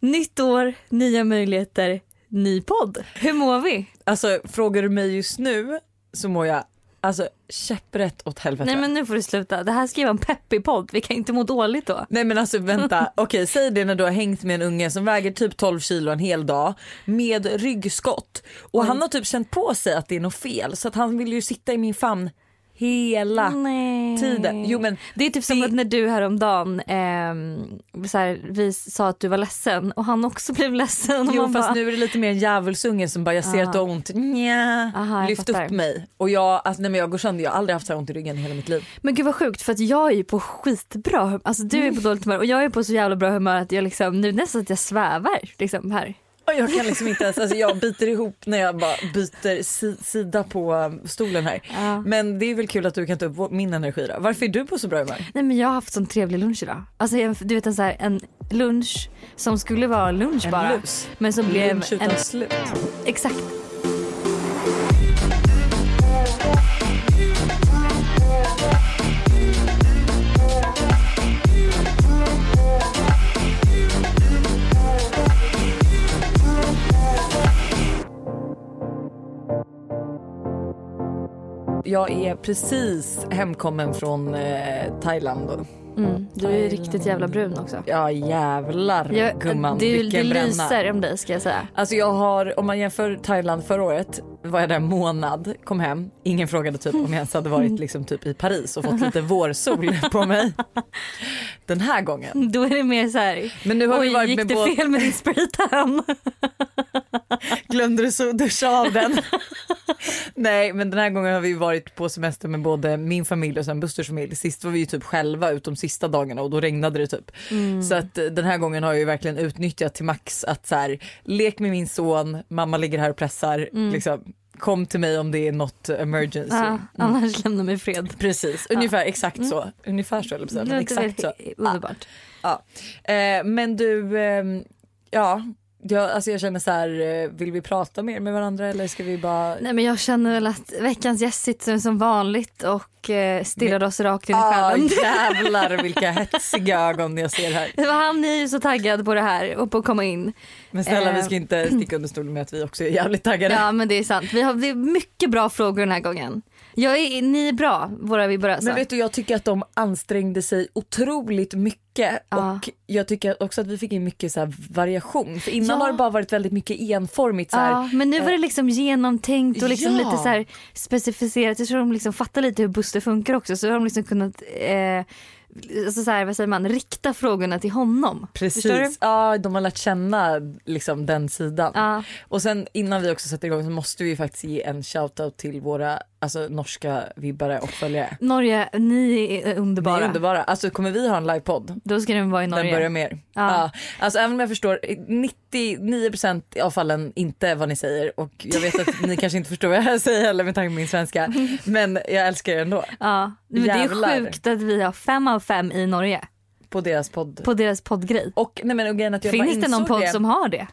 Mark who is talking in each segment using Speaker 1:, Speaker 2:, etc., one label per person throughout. Speaker 1: Nytt år, nya möjligheter, ny podd. Hur mår vi?
Speaker 2: Alltså frågar du mig just nu så mår jag alltså käpprätt åt helvete.
Speaker 1: Nej men nu får du sluta. Det här ska ju vara en peppig podd. Vi kan inte må dåligt då.
Speaker 2: Nej men alltså vänta, okej säg det när du har hängt med en unge som väger typ 12 kilo en hel dag med ryggskott och han har typ känt på sig att det är något fel så att han vill ju sitta i min famn hela
Speaker 1: Mm. Nej.
Speaker 2: tiden. Jo men
Speaker 1: Det är typ som
Speaker 2: Det-
Speaker 1: att när du häromdagen eh, så här, vi sa att du var ledsen och han också blev ledsen. Och
Speaker 2: Jo
Speaker 1: man Ah.
Speaker 2: fast nu är det lite mer en djävulsunge som bara jag ser att du har ont, Nja.
Speaker 1: Aha, jag
Speaker 2: lyft
Speaker 1: fattar.
Speaker 2: upp mig. Och jag, alltså, nej, men jag går sönder, jag har aldrig haft så här ont i ryggen i hela mitt liv.
Speaker 1: Men gud vad sjukt för att jag är ju på skitbra humör. Alltså du är på dåligt humör och jag är på så jävla bra humör att jag liksom, nu nästan att jag svävar liksom här.
Speaker 2: Och Jag kan liksom inte ens, alltså jag biter ihop när jag bara byter si, sida på um, stolen här.
Speaker 1: Ja.
Speaker 2: Men det är väl kul att du kan ta upp vår- min energi då. Varför är du på så bra humör?
Speaker 1: Nej men jag har haft sån trevlig lunch idag. Alltså en- du vet en så här, en lunch som skulle vara lunch bara.
Speaker 2: lus.
Speaker 1: Men som blev
Speaker 2: Lunch utan
Speaker 1: en,
Speaker 2: slut.
Speaker 1: exakt.
Speaker 2: Jag är precis hemkommen från eh, Thailand.
Speaker 1: Mm, du är ju riktigt jävla brun också.
Speaker 2: Ja jävlar
Speaker 1: Jag,
Speaker 2: gumman
Speaker 1: det det
Speaker 2: vilken bränna.
Speaker 1: lyser om dig ska jag säga.
Speaker 2: Alltså jag har, om man jämför Thailand förra året var jag där en månad, kom hem. Ingen frågade typ om jag ens hade varit liksom typ i Paris och fått lite vårsol på mig. Den här gången.
Speaker 1: Mm, Då är det mer så här.
Speaker 2: Men nu har vi
Speaker 1: Oj
Speaker 2: varit
Speaker 1: gick
Speaker 2: med
Speaker 1: det
Speaker 2: båt.
Speaker 1: fel med din spraytan?
Speaker 2: Glömde du så duscha av den? Nej, men den här gången har vi ju varit på semester med både min familj och sen Busters familj. Sist var vi ju typ själva ut de sista dagarna och då regnade det typ. Så att eh, den här gången har jag ju verkligen utnyttjat till max att så här, lek med min son, mamma ligger här och pressar, liksom, kom till mig om det är något emergency.
Speaker 1: ja, annars lämna mig i fred.
Speaker 2: Precis, ungefär exakt så. Ungefär så, eller
Speaker 1: Det
Speaker 2: precis, men
Speaker 1: låter
Speaker 2: exakt
Speaker 1: väldigt
Speaker 2: så.
Speaker 1: underbart.
Speaker 2: Ja. Eh, men du, ehm, ja. Jag, alltså jag känner så här, eh, vill vi prata mer med varandra eller ska vi bara
Speaker 1: Nej men jag känner väl att veckans gäst sitter som vanligt och eh, stirrar oss rakt in i
Speaker 2: Ah,
Speaker 1: själen.
Speaker 2: jävlar vilka hetsiga ögon jag ser här.
Speaker 1: Det var han är ju så taggad på det här och på att komma in.
Speaker 2: Men snälla
Speaker 1: Eh.
Speaker 2: vi ska inte sticka under stolen med att vi också är jävligt taggade.
Speaker 1: Ja men det är sant. Vi har det är mycket bra frågor den här gången. Jag är, ni är bra våra
Speaker 2: Men
Speaker 1: vibbörösa.
Speaker 2: vet du jag tycker att de ansträngde sig otroligt mycket
Speaker 1: Ja.
Speaker 2: och jag tycker också att vi fick in mycket så här variation. För innan
Speaker 1: Ja.
Speaker 2: har det bara varit väldigt mycket enformigt så här. eh,
Speaker 1: Ja, men nu var det liksom genomtänkt och liksom
Speaker 2: Ja.
Speaker 1: lite så här specificerat. Jag tror de liksom fattar lite hur Buster funkar också så har de liksom kunnat eh, alltså så här, vad säger man, rikta frågorna till honom. Förstår du?
Speaker 2: Precis, ja, de har lärt känna liksom, den sidan.
Speaker 1: Ja.
Speaker 2: Och sen innan vi också sätter igång så måste vi faktiskt ge en shoutout till våra alltså, norska vibbare och följare.
Speaker 1: Norge, ni är underbara.
Speaker 2: Ni är underbara. Alltså kommer vi ha en livepodd?
Speaker 1: Då ska den vara i
Speaker 2: Den
Speaker 1: Norge.
Speaker 2: börjar med er.
Speaker 1: Ja.
Speaker 2: Ja. Alltså även om jag förstår 99% av fallen inte vad ni säger och jag vet att ni kanske inte förstår vad jag säger heller med tanke på min svenska. Men jag älskar er ändå
Speaker 1: Ja, men det är
Speaker 2: Jävlar.
Speaker 1: ju sjukt att vi har fem av fem i Norge
Speaker 2: på deras podd.
Speaker 1: på deras poddgrej.
Speaker 2: Och nej men och grejen att jag bara
Speaker 1: Finns det
Speaker 2: insåg
Speaker 1: någon podd
Speaker 2: det.
Speaker 1: som har det?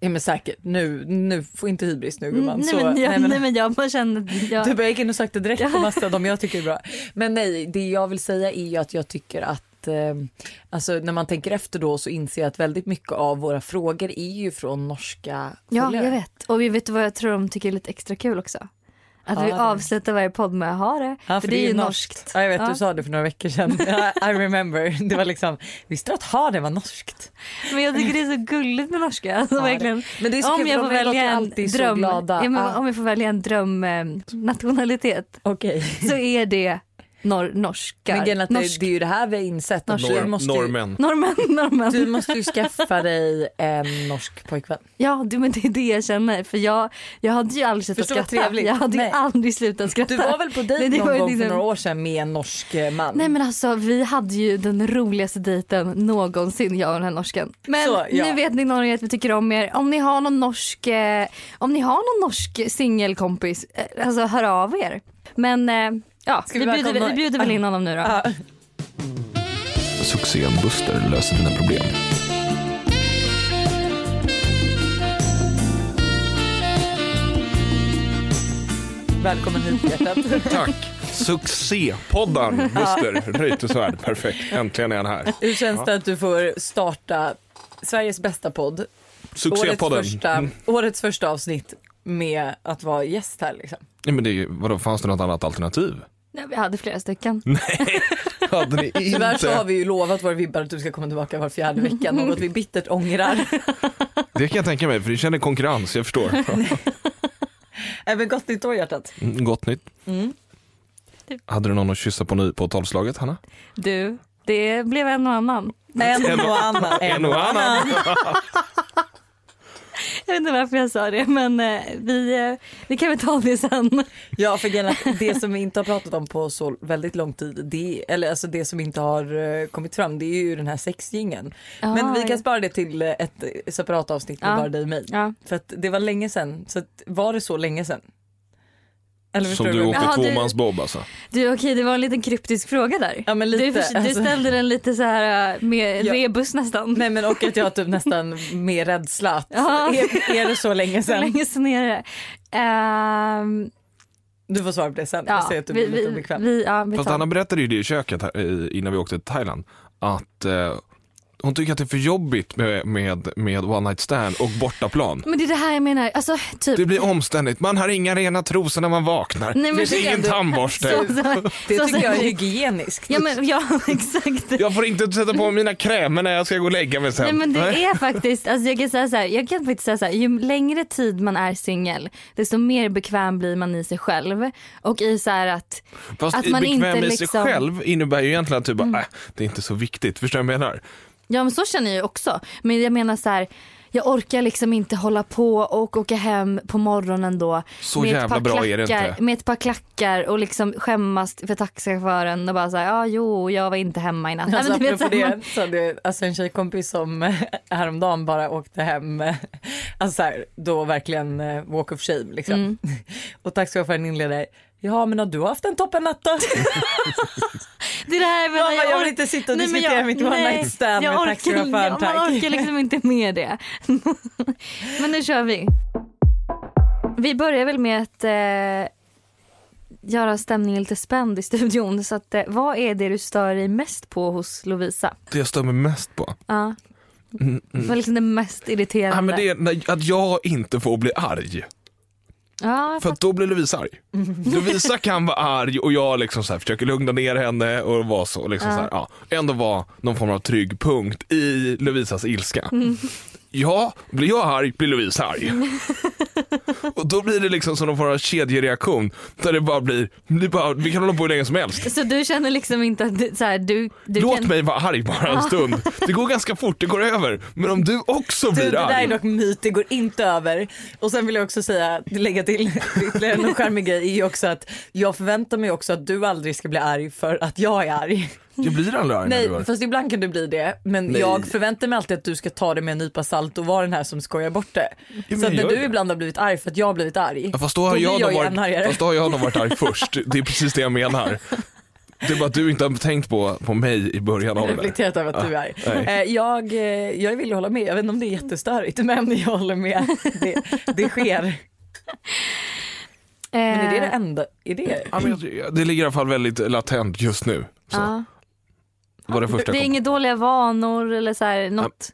Speaker 2: Ja men säkert, nu, nu får inte hybris nu gumman.
Speaker 1: nej,
Speaker 2: Så-
Speaker 1: men jag,
Speaker 2: nej, men-
Speaker 1: nej men jag bara känner att jag...
Speaker 2: Du bara, jag gick in och sökte direkt på massa av dem jag tycker är bra. Men nej, det jag vill säga är ju att jag tycker att eh, alltså, när man tänker efter då så inser jag att väldigt mycket av våra frågor är ju från norska
Speaker 1: Ja,
Speaker 2: följare.
Speaker 1: jag vet. Och vi vet du vad jag tror de tycker är lite extra kul också? Att
Speaker 2: Ja,
Speaker 1: vi
Speaker 2: det.
Speaker 1: avslutar varje podd med ha det.
Speaker 2: Ja,
Speaker 1: för det är ju norskt.
Speaker 2: Ja, jag vet,
Speaker 1: Ja.
Speaker 2: du sa det för några veckor sedan. I, I remember. Det var liksom, visste du att ha det var norskt?
Speaker 1: Men jag tycker det är så gulligt med norska. Alltså,
Speaker 2: Ja, det-
Speaker 1: verkligen.
Speaker 2: Men det är så
Speaker 1: Om
Speaker 2: kul,
Speaker 1: jag
Speaker 2: för
Speaker 1: får
Speaker 2: de låter
Speaker 1: välja en
Speaker 2: alltid så
Speaker 1: dröm,
Speaker 2: glada.
Speaker 1: ja, men
Speaker 2: Ah.
Speaker 1: om jag får välja en drömnationalitet
Speaker 2: Okej.
Speaker 1: så är det nor- norskar.
Speaker 2: Men grejen är att
Speaker 1: Norsk.
Speaker 2: det, det är ju det här vi har insett. att
Speaker 1: Norska.
Speaker 2: Du
Speaker 1: Norr-
Speaker 2: måste, ju,
Speaker 3: Norrmän.
Speaker 1: Norrmän, norrmän.
Speaker 2: du måste ju skaffa dig en norsk pojkvän.
Speaker 1: Ja, du, men det är det jag känner. För jag, jag hade ju aldrig slutat
Speaker 2: Förstå vad
Speaker 1: skratta.
Speaker 2: trevligt.
Speaker 1: Jag hade ju
Speaker 2: Nej.
Speaker 1: aldrig slutat skratta.
Speaker 2: Du var väl på
Speaker 1: Nej,
Speaker 2: dejt
Speaker 1: det var
Speaker 2: någon
Speaker 1: ju
Speaker 2: gång för
Speaker 1: liksom-
Speaker 2: några år sedan med en norsk eh, man?
Speaker 1: Nej men alltså vi hade ju den roligaste dejten någonsin jag och den här norsken. Men
Speaker 2: Så, ja.
Speaker 1: nu vet ni Norge att vi tycker om er. Om ni har någon norsk, eh, om ni har någon norsk singelkompis, eh, alltså hör av er. Men eh, ja,
Speaker 2: Ska
Speaker 1: vi,
Speaker 2: vi
Speaker 1: bjuder,
Speaker 2: välkomna-
Speaker 1: vi bjuder väl in honom nu då.
Speaker 2: Ja.
Speaker 4: Succén Buster löser dina problem.
Speaker 2: Välkommen hit hjärtat.
Speaker 3: Tack. Succépoddar Buster Reuterswärd. Perfekt. Äntligen är han här.
Speaker 2: Hur känns
Speaker 3: Ja.
Speaker 2: det att du får starta Sveriges bästa podd.
Speaker 3: Succépodden.
Speaker 2: Årets första,
Speaker 3: Mm.
Speaker 2: årets första avsnitt med att vara gäst här liksom.
Speaker 4: Nej, men det, är ju- vadå, fanns det något annat alternativ?
Speaker 1: Nej, vi hade flera stycken.
Speaker 4: Hade ni
Speaker 2: Tyvärr så har
Speaker 4: inte?
Speaker 2: vi ju lovat våra vibbar att du ska komma tillbaka var fjärde vecka, något vi bittert ångrar.
Speaker 4: Det kan jag tänka mig, för ni känner konkurrens, jag förstår.
Speaker 2: Även gott nytt år hjärtat.
Speaker 4: Mm, Gott nytt. Hade du någon att kyssa på nu på tolvslaget, Hanna?
Speaker 1: Du, det blev en och annan.
Speaker 2: En och annan.
Speaker 4: En och annan.
Speaker 1: Jag vet inte varför jag sa det men eh, vi, eh, vi kan väl ta det sen.
Speaker 2: Ja, för grejen är att det som vi inte har pratat om på så väldigt lång tid, det, eller alltså det som inte har eh, kommit fram, det är ju den här sexgingen. Men vi
Speaker 1: Ah, ja. Ah.
Speaker 2: kan spara det till eh, ett eh, separat avsnitt med
Speaker 1: Ja.
Speaker 2: bara dig och mig.
Speaker 1: Ja.
Speaker 2: För att det var länge sedan, så att, var det så länge sedan? Eller förstår
Speaker 4: Som du
Speaker 2: vad jag
Speaker 4: åkte
Speaker 2: menar?
Speaker 1: Jaha, du-
Speaker 4: tvåmansbob alltså?
Speaker 1: Du okej det var en liten kryptisk fråga där.
Speaker 2: Ja men lite.
Speaker 1: du, förs-
Speaker 2: alltså.
Speaker 1: du ställde den lite så här eh, med
Speaker 2: Ja.
Speaker 1: rebus nästan.
Speaker 2: Nej men och att jag typ nästan med rädsla att
Speaker 1: Ja.
Speaker 2: är, är det så länge
Speaker 1: Hur
Speaker 2: sedan?
Speaker 1: länge sedan är det? Ehm,
Speaker 2: Du får svara på det sen, jag
Speaker 1: ja,
Speaker 2: ser att du
Speaker 1: vi,
Speaker 2: blir lite
Speaker 1: vi,
Speaker 2: obekväm.
Speaker 1: vi, ja, vi
Speaker 4: Fast
Speaker 1: tar.
Speaker 4: Hanna berättade ju det i köket här, eh, innan vi åkte till Thailand att eh, hon tycker att det är för jobbigt med, med, med one night stand och bortaplan.
Speaker 1: Men det är det här jag menar, alltså typ.
Speaker 4: Det blir omständigt, man har inga rena trosor när man vaknar.
Speaker 1: Nej, men
Speaker 4: det
Speaker 1: det
Speaker 4: är
Speaker 1: är
Speaker 4: ingen
Speaker 1: ändå-
Speaker 4: tandborste.
Speaker 1: så, så här,
Speaker 2: Det
Speaker 1: så,
Speaker 2: tycker jag är
Speaker 1: här-
Speaker 2: hygieniskt.
Speaker 1: Ja men ja exakt.
Speaker 4: Jag får inte sätta på mina krämer när jag ska gå och lägga mig sen.
Speaker 1: Nej men
Speaker 4: Nej.
Speaker 1: det är faktiskt, alltså jag kan säga så här, jag kan faktiskt säga så här, ju längre tid man är singel desto mer bekväm blir man i sig själv och i så här att
Speaker 4: Fast
Speaker 1: att man
Speaker 4: bekväm
Speaker 1: inte
Speaker 4: i sig
Speaker 1: liksom- Mm.
Speaker 4: själv innebär ju egentligen att du bara, äh, det är inte så viktigt. Förstår du vad jag menar?
Speaker 1: Ja men så känner jag ju också. Men jag menar så här, jag orkar liksom inte hålla på och åka hem på morgonen då.
Speaker 4: Så
Speaker 1: med ett
Speaker 4: jävla
Speaker 1: par
Speaker 4: bra är det
Speaker 1: klackar,
Speaker 4: inte.
Speaker 1: Med ett par klackar och liksom skämmas för taxichauffören och bara säga ja jo jag var inte hemma i natt. Nej,
Speaker 2: Alltså,
Speaker 1: men du vet,
Speaker 2: apropå
Speaker 1: så här, man-
Speaker 2: det, så hade jag alltså, en tjejkompis som eh, häromdagen bara åkte hem, eh, alltså så här, då verkligen eh, walk of shame liksom.
Speaker 1: Mm.
Speaker 2: Och taxichauffören inleder, ja men har du haft en toppen natt då?
Speaker 1: det är det här jag menar,
Speaker 2: Jag, bara, jag
Speaker 1: ork-
Speaker 2: vill inte sitta och
Speaker 1: Nej, men
Speaker 2: diskutera
Speaker 1: jag-
Speaker 2: mitt one
Speaker 1: nej,
Speaker 2: night stand
Speaker 1: jag
Speaker 2: med
Speaker 1: orkar-
Speaker 2: taxichauffören
Speaker 1: jag- Man
Speaker 2: tack.
Speaker 1: orkar liksom inte med det. men nu kör vi. Vi börjar väl med att eh, göra stämningen lite spänd i studion. Så att, eh, vad är det du stör dig mest på hos Lovisa?
Speaker 4: Det jag stör mig mest på.
Speaker 1: Ja.
Speaker 4: Mm,
Speaker 1: Vad är liksom det mest irriterande?
Speaker 4: Ja, men det är när- att jag inte får bli arg.
Speaker 1: Ja,
Speaker 4: För att då blir Lovisa arg.
Speaker 2: Mm.
Speaker 4: Lovisa kan vara arg och jag liksom så här försöker lugna ner henne och vara så. Liksom
Speaker 1: Ja.
Speaker 4: så här, ja, ändå vara någon form av trygg punkt i Lovisas ilska.
Speaker 2: Mm.
Speaker 4: Ja, blir jag arg blir Lovisa arg. och då blir det liksom som någon form av kedjereaktion där det bara blir, det bara, vi kan hålla på hur länge som helst.
Speaker 1: Så du känner liksom inte att du, så här, du, du
Speaker 4: Låt
Speaker 1: kan...
Speaker 4: mig vara arg bara en stund. Det går ganska fort, det går över. Men om du också
Speaker 2: Du,
Speaker 4: blir
Speaker 2: det där
Speaker 4: arg.
Speaker 2: är dock myt, det går inte över. Och sen vill jag också säga, lägga till ytterligare en charmig grej är ju också att jag förväntar mig också att du aldrig ska bli arg för att jag är arg.
Speaker 4: Jag blir aldrig arg när du är
Speaker 2: Nej,
Speaker 4: arg.
Speaker 2: fast ibland kan du bli det. Men
Speaker 4: Nej.
Speaker 2: jag förväntar mig alltid att du ska ta det med en nypa salt och vara den här som skojar bort det.
Speaker 4: men
Speaker 2: så att
Speaker 4: jag
Speaker 2: när
Speaker 4: gör
Speaker 2: du
Speaker 4: det.
Speaker 2: ibland har blivit arg för att jag har blivit arg.
Speaker 4: Ja, fast då har
Speaker 2: blir
Speaker 4: jag, då
Speaker 2: ju ännu
Speaker 4: varit,
Speaker 2: argare.
Speaker 4: fast då har jag då varit arg först. Det är precis det jag menar. Det är bara att du inte har tänkt på, på mig i början av det. där.
Speaker 2: Reflekterat över att du är arg.
Speaker 4: Ah, nej.
Speaker 2: Eh, Jag, eh, jag vill hålla med, jag vet inte om det är jättestörigt men jag håller med. Det, det sker. Men är det det
Speaker 1: Eh,
Speaker 2: enda? Är det?
Speaker 4: Ja, men jag- det ligger i alla fall väldigt latent just nu. Så,
Speaker 1: ja.
Speaker 4: var det första
Speaker 1: Det är
Speaker 4: jag kom-
Speaker 1: inga dåliga vanor eller så här, något.